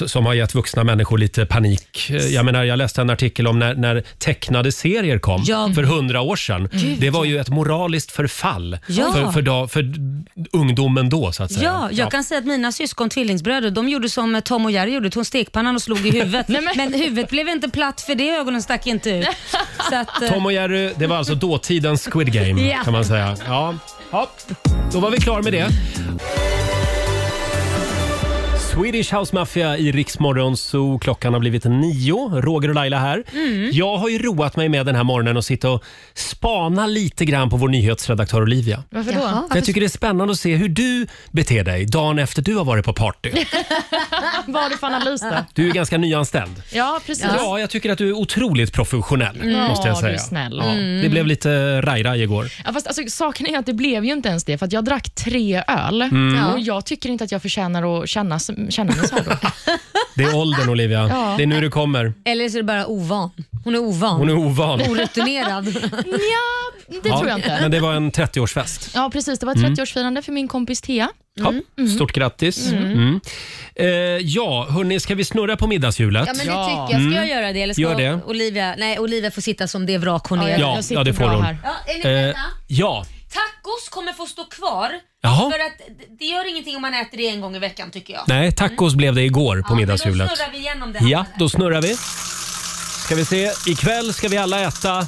A: som har gett vuxna människor lite panik. Eh, Jag menar, jag läste en artikel om när, när tecknade serier kom
B: Ja. Mm.
A: för hundra år sedan.
B: Gud,
A: Det var ju ett moraliskt förfall
B: Ja.
A: för, för, dag, för ungdomen då, så att säga.
B: Ja, jag kan säga att mina syskon, tvillingsbröder, de gjorde som eh, Tom och Jerry gjorde, tog stekpannan och slog i huvudet. men... huvudet blev inte platt för det, ögonen stack inte ut. Så att, eh,
A: Tom och Jerry, det var alltså dåtidens Squid Game
B: Ja.
A: kan man säga. Ja. ja, då var vi klara med det. Swedish House Mafia i Riksmorgon så klockan har blivit nio. Roger och Laila här.
L: Mm.
A: Jag har ju roat mig med den här morgonen och sitta och spana lite grann på vår nyhetsredaktör Olivia.
C: Varför då?
A: För Jag tycker det är spännande att se hur du beter dig dagen efter du har varit på party.
C: Vad har du för analys då?
A: Du är ganska nyanställd.
C: Ja, precis.
A: Ja, jag tycker att du är otroligt professionell.
C: Ja,
A: måste jag
C: du
A: säga.
C: är snäll.
A: Ja,
C: Mm.
A: det blev lite raj-raj igår.
C: Ja, fast alltså, saken är att det blev ju inte ens det, för att jag drack tre öl
A: Mm. Ja.
C: och jag tycker inte att jag förtjänar att känna, känna mig så här då.
A: Det är åldern Olivia.
C: Ja.
A: Det är nu det kommer.
B: Eller så är det bara ovan. Hon är ovan.
A: Hon är ovan.
B: Orutinerad.
C: ja, det tror jag inte.
A: Men det var en 30-årsfest.
C: Ja, precis. Det var ett
A: Mm.
C: 30-årsfirande för min kompis Thea.
B: Mm.
A: Ja, Stort grattis. Mm.
C: Mm.
A: Eh, ja, hörni, ska vi snurra på middagshjulet?
B: Ja, men det tycker jag. Ska jag
A: Mm.
B: göra det? Eller ska
A: Gör det.
B: Olivia, nej, Olivia får sitta som det vrak hon är.
A: Ja, ja, det får hon.
B: Ja, är ni beredda?
A: Eh, ja.
B: Tacos kommer få stå kvar.
A: Jaha.
B: För att det- det gör ingenting om man äter det en gång i veckan tycker jag.
A: Nej, tacos blev det igår på
B: Ja, men då
A: middagshjulet.
B: snurrar vi igenom det här.
A: Ja, då snurrar vi. Ska vi se. Ikväll ska vi alla äta...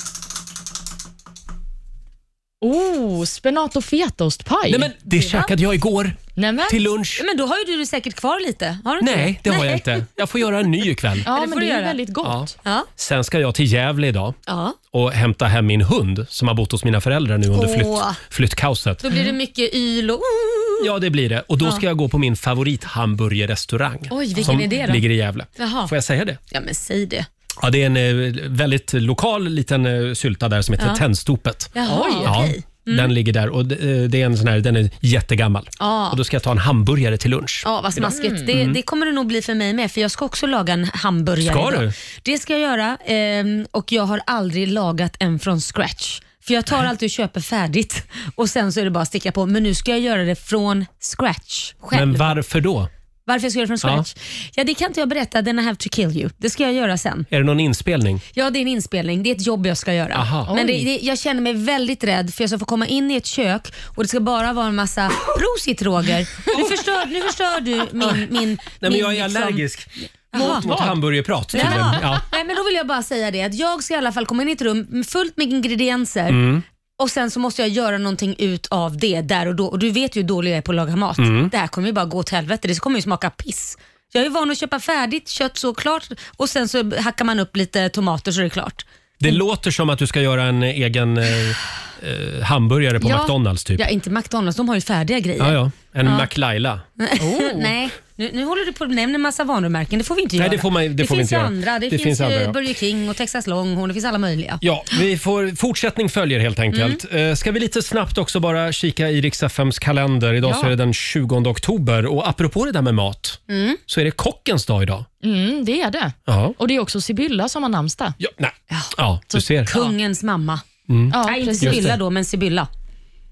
C: Oh, spenat och fetostpaj.
A: Nej, men det käkade jag igår.
C: Nej, men.
A: Till lunch.
B: Men då har ju du det säkert kvar lite. Har du inte
A: Nej, det har jag inte. Jag får göra en ny ikväll.
B: Ja,
C: men det är väldigt
A: gott.
B: Ja.
A: Sen ska jag till Gävle idag
B: Ja.
A: och hämta hem min hund som har bott hos mina föräldrar nu under
B: Åh.
A: flytt, flyttkaoset.
B: Då blir det mycket yl och...
A: Ja, det blir det. Och då
B: Ja.
A: ska jag gå på min favorithamburgerrestaurang.
B: Oj, vilken
A: som
B: är det då?
A: ligger i Gävle.
B: Jaha.
A: Får jag säga det?
B: Ja, men säg det.
A: Ja, det är en eh, väldigt lokal liten eh, sylta där som heter
B: Ja.
A: Tändstopet.
B: Jaha, Oj.
A: ja,
B: okej. Mm.
A: Den ligger där och det, eh, det är en sån här, den är jättegammal.
B: Ja.
A: Och då ska jag ta en hamburgare till lunch.
B: Ja, vad
A: idag.
B: smaskigt. Det, det kommer det nog bli för mig med, för jag ska också laga en hamburgare.
A: Mm. Ska
B: idag.
A: du?
B: Det ska jag göra ehm, och jag har aldrig lagat en från scratch. För jag tar alltid och köper färdigt och sen så är det bara att sticka på. Men nu ska jag göra det från scratch själv.
A: Men varför då?
B: Varför jag ska göra det från
A: Ja.
B: scratch? Ja. det kan inte jag berätta. Then I have to kill you. Det ska jag göra sen.
A: Är det någon inspelning?
B: Ja, det är en inspelning. Det är ett jobb jag ska göra.
A: Aha.
B: Men det,
A: Oj.
B: det, jag känner mig väldigt rädd för jag ska få komma in i ett kök och det ska bara vara en massa... Prosit Roger! Nu förstör, nu förstör du min... min
A: Nej, men
B: min,
A: jag är
B: liksom-
A: allergisk
B: Jaha.
A: mot, mot hamburgerprat
B: Ja.
A: tydligen. Ja.
B: Nej, men då vill jag bara säga det att jag ska i alla fall komma in i ett rum fullt med ingredienser
A: Mm.
B: och sen så måste jag göra någonting ut av det där och då. Och du vet ju hur dålig jag är på att laga mat.
A: Mm.
B: Det här kommer ju bara gå åt helvete. Det kommer ju smaka piss. Jag är van att köpa färdigt kött såklart och sen så hackar man upp lite tomater så är det klart.
A: Det låter som att du ska göra en egen eh, eh, hamburgare på
B: Ja.
A: McDonalds typ.
B: Ja, inte McDonalds. De har ju färdiga grejer.
A: Ja, ja. En
B: Ja.
A: McLaila.
B: Nej, nu, nu håller du på att nämna massa varumärken. Det får vi inte
A: Nej,
B: göra.
A: det får man- det får vi
B: finns
A: inte
B: ju
A: göra.
B: andra. Det,
A: Det
B: finns,
A: finns andra,
B: eh,
A: ja.
B: Burger King och Texas Longhorn. Det finns alla möjliga.
A: Ja, vi får, fortsättning följer helt enkelt.
C: Mm.
A: Eh, Ska vi lite snabbt också bara kika i Rix FMs kalender. Idag
C: Ja.
A: så är det den 20 oktober och apropå det där med mat
C: Mm.
A: så är det kockens dag idag.
C: Mm, det är det.
A: Ja,
C: Och det är också Sibylla som har namnsdag.
A: ja, nej. ja du ser.
B: Kungens mamma.
A: Mm.
B: Nej, inte
A: precis. Just
B: Sibylla
A: det.
B: då, men Sibylla.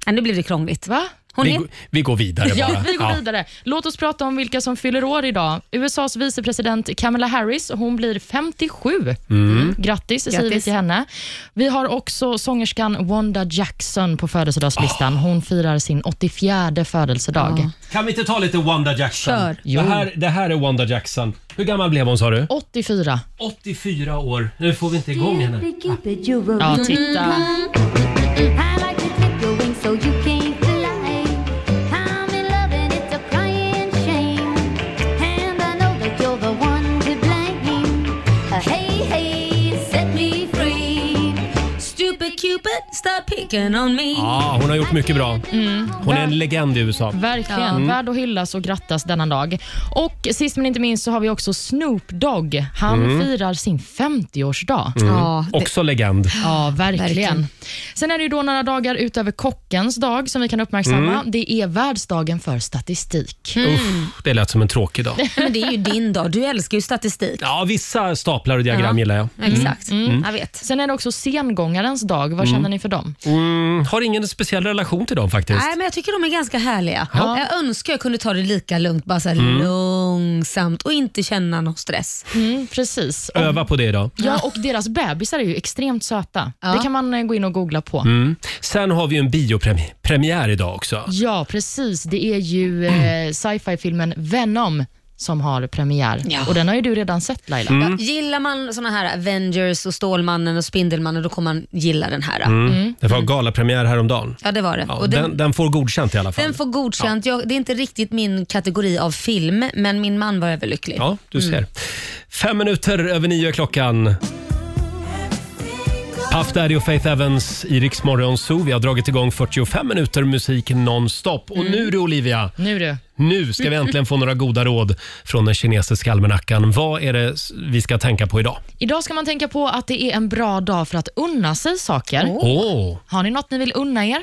B: Nej, nu blev det krångligt.
C: Va?
B: Hon
A: Vi,
B: är...
A: går- vi går vidare bara.
C: Ja, vi går
A: Ja.
C: vidare. Låt oss prata om vilka som fyller år idag. USAs vicepresident Kamala Harris, hon blir 57.
A: Mm.
C: Grattis, säger vi
L: Grattis.
C: till henne. Vi har också sångerskan Wanda Jackson på
A: Ah.
C: födelsedagslistan. Hon firar sin 84 födelsedag.
A: Kan vi inte ta lite Wanda Jackson?
C: Kör.
A: Det här, det här är Wanda Jackson. Hur gammal blev hon sa du?
C: 84.
A: 84 år. Nu får vi inte igång henne.
C: Ja, titta.
G: I like to take your wings so you can fly. I'm in love and it's a crying shame. And I know that you're the one to blame. Uh, hey, hey, set me free.
B: Stupid Cupid, stop picking on me.
A: Ja, hon har gjort mycket bra.
C: Mm.
A: Hon är en legend i USA.
C: Verkligen.
A: Mm.
C: Värd att hyllas och grattas denna dag. Och Sist men inte minst så har vi också Snoop Dogg. Han
A: Mm.
C: firar sin 50-årsdag.
A: Mm. Också legend.
C: Ja, verkligen. Sen är det ju då några dagar utöver kockens dag som vi kan uppmärksamma.
A: Mm.
C: Det är världsdagen för statistik.
A: Uff, det lät som en tråkig dag.
B: Men det är ju din dag. Du älskar ju statistik.
A: Ja, vissa staplar och diagram
C: Ja,
A: gillar jag.
B: Exakt.
A: Mm.
B: Jag vet.
C: Sen är det också sengångarens dag.
A: Mm.
C: Vad känner ni för dem?
A: Mm, har ingen speciell relation till dem faktiskt.
B: Nej, men jag tycker de är ganska härliga.
A: Ja.
B: Jag önskar jag kunde ta det lika lugnt, bara så här
A: Mm.
B: långsamt och inte känna någon stress.
C: Mm, precis.
A: Öva på det idag.
C: Ja, och deras bebisar är ju extremt söta. Det kan man eh, gå in och googla på.
A: Mm. Sen har vi ju en biopremiär idag också.
B: Mm.
C: Ja, precis. Det är ju eh, sci-fi-filmen Venom som har premiär.
B: Ja.
C: Och Den har ju du redan sett Laila.
A: Mm.
B: Ja, gillar man såna här Avengers och Stålmannen och Spindelmannen, då kommer man gilla den här.
A: Mm.
B: Mm.
A: Det var galapremiär häromdagen.
B: Ja, det var det.
A: Ja,
B: Och
A: den, den får godkänt i alla fall.
B: Den får godkänt. Jag, det är inte riktigt min kategori av film, men min man var överlycklig.
A: Ja, du ser.
B: Mm.
A: Fem minuter över nio är klockan. Puff Daddy och Faith Evans i Rix Morgon Zoo. Vi har dragit igång 45 minuter musik nonstop. Och
B: Mm.
A: nu du Olivia,
C: Nu du.
A: nu ska vi äntligen få några goda råd från den kinesiska almanackan. Vad är det s- vi ska tänka på idag?
C: Idag ska man tänka på att det är en bra dag för att unna sig saker.
A: Åh.
C: Har ni något ni vill unna er?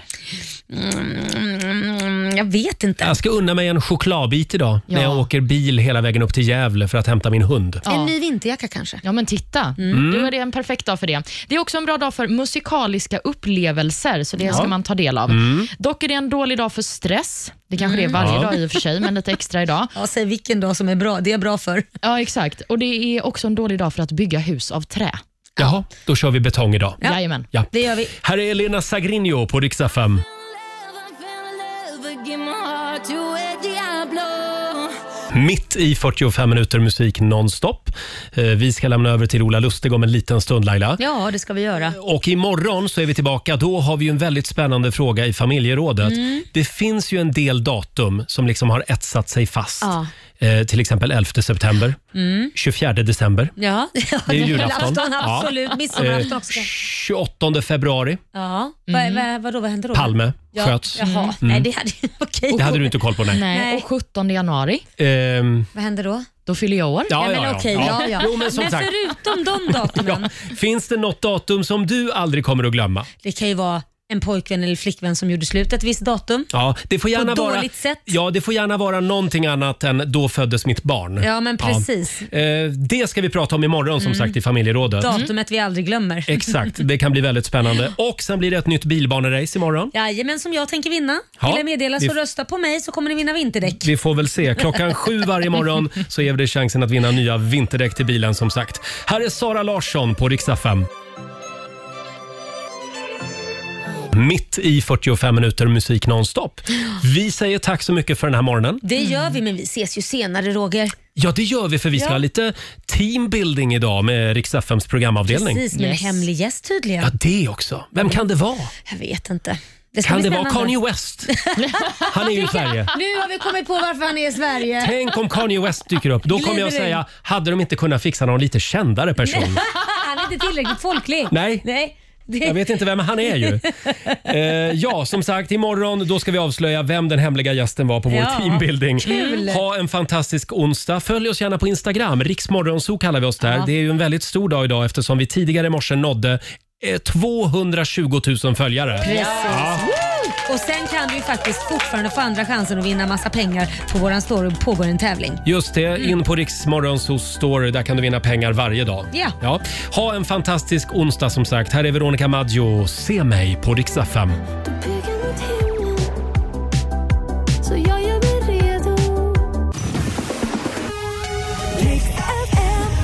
B: Mm, jag vet inte.
A: Jag ska unna mig en chokladbit idag
C: Ja.
A: när jag åker bil hela vägen upp till Gävle för att hämta min hund.
B: En ny vinterjacka kanske?
C: Ja, men titta.
A: Mm.
C: Då är det en perfekt dag för det. Det är också en bra dag för musikaliska upplevelser, så det
A: Ja.
C: ska man ta del av.
A: Mm.
C: Dock är det en dålig dag för stress. Det kanske det är varje
A: Ja.
C: dag i och för sig, men lite extra idag.
B: Ja, säg vilken dag som är bra. Det är bra för.
C: Ja, exakt. Och Det är också en dålig dag för att bygga hus av trä.
A: Jaha, då kör vi betong idag.
C: Ja. Jajamän.
A: Ja.
B: Det gör vi.
A: Här är Elena Sagrinho på riksdag 5. Mitt i 45 minuter musik nonstop. Eh, Vi ska lämna över till Ola Lustig om en liten stund Laila.
B: Ja, det ska vi göra.
A: Och imorgon så är vi tillbaka. Då har vi ju en väldigt spännande fråga i familjerådet.
B: Mm.
A: Det finns ju en del datum som liksom har etsat sig fast.
B: Ja.
A: eh, till exempel 11 september,
B: Mm.
A: 24 december,
B: Ja, ja,
A: Det är julafton. Ja.
B: Absolut, midsommarafton
A: Eh,
B: också.
A: 28 februari.
B: Ja,
A: Mm.
B: vad, vad, vadå, vad hände då?
A: Palme
B: ja.
A: sköts.
B: Jaha,
A: Mm.
B: nej det hade, okej.
A: Det hade du inte koll på, nej.
C: Nej, och 17 januari.
A: Ehm,
B: Vad händer då?
C: Då fyller jag år.
A: Ja, ja, ja. Ja. Jo, men som sagt.
B: förutom de datumen,
A: finns det något datum som du aldrig kommer att glömma?
B: det kan ju vara en pojkvän eller flickvän som gjorde slut ett visst datum.
A: Ja, det får gärna
B: På
A: vara,
B: dåligt sätt.
A: Ja, det får gärna vara någonting annat än då föddes mitt barn.
B: Ja, men precis.
A: Eh, det ska vi prata om imorgon som
B: Mm.
A: sagt i familjerådet.
B: Datumet vi aldrig glömmer.
A: Exakt, det kan bli väldigt spännande. Och sen blir det ett nytt bilbanerace imorgon.
B: Jajamän, som jag tänker vinna.
A: Ja,
B: Vill jag meddela så
A: vi-
B: rösta på mig så kommer ni vinna vinterdäck.
A: Vi får väl se. Klockan sju varje morgon så ger vi dig chansen att vinna nya vinterdäck till bilen som sagt. Här är Sara Larsson på riksdag 5. Mitt i 45 minuter musik nonstop. Vi säger tack så mycket för den här morgonen.
B: Det gör vi, men vi ses ju senare Roger.
A: Ja, det gör vi för vi ska
B: Ja.
A: ha lite teambuilding idag med riks FMs programavdelning.
B: Precis, med en hemlig gäst tydligen.
A: Ja, det också. Vem kan det vara?
B: Jag vet inte. Det ska
A: kan
B: bli
A: det vara
B: spännande.
A: Kanye West? Han är ju i Sverige.
B: Nu har vi kommit på varför han är i Sverige.
A: Tänk om Kanye West dyker upp. Då kommer jag att
B: Glider in.
A: säga, hade de inte kunnat fixa någon lite kändare person?
B: han är inte tillräckligt folklig.
A: Nej.
B: Nej. Det-
A: Jag vet inte vem han är ju. Eh, ja, som sagt, imorgon då ska vi avslöja vem den hemliga gästen var på vår
B: Ja,
A: teambuilding.
B: kul.
A: Ha en fantastisk onsdag. Följ oss gärna på Instagram. Riksmorgonzoo kallar vi oss där.
B: Ja.
A: Det är ju en väldigt stor dag idag eftersom vi tidigare i morse nådde eh, 220 000 följare.
B: Precis.
A: Ja.
B: Woo! Och sen kan du ju faktiskt fortfarande få andra chansen att vinna massa pengar på våran story. Pågår en tävling.
A: Just det, in på Riksmorgonzoo store. Där kan du vinna pengar varje dag.
B: Ja.
A: Ja. Ha en fantastisk onsdag som sagt. Här är Veronica Maggio. Se mig på Riksdag 5.
G: Så jag gör mig redo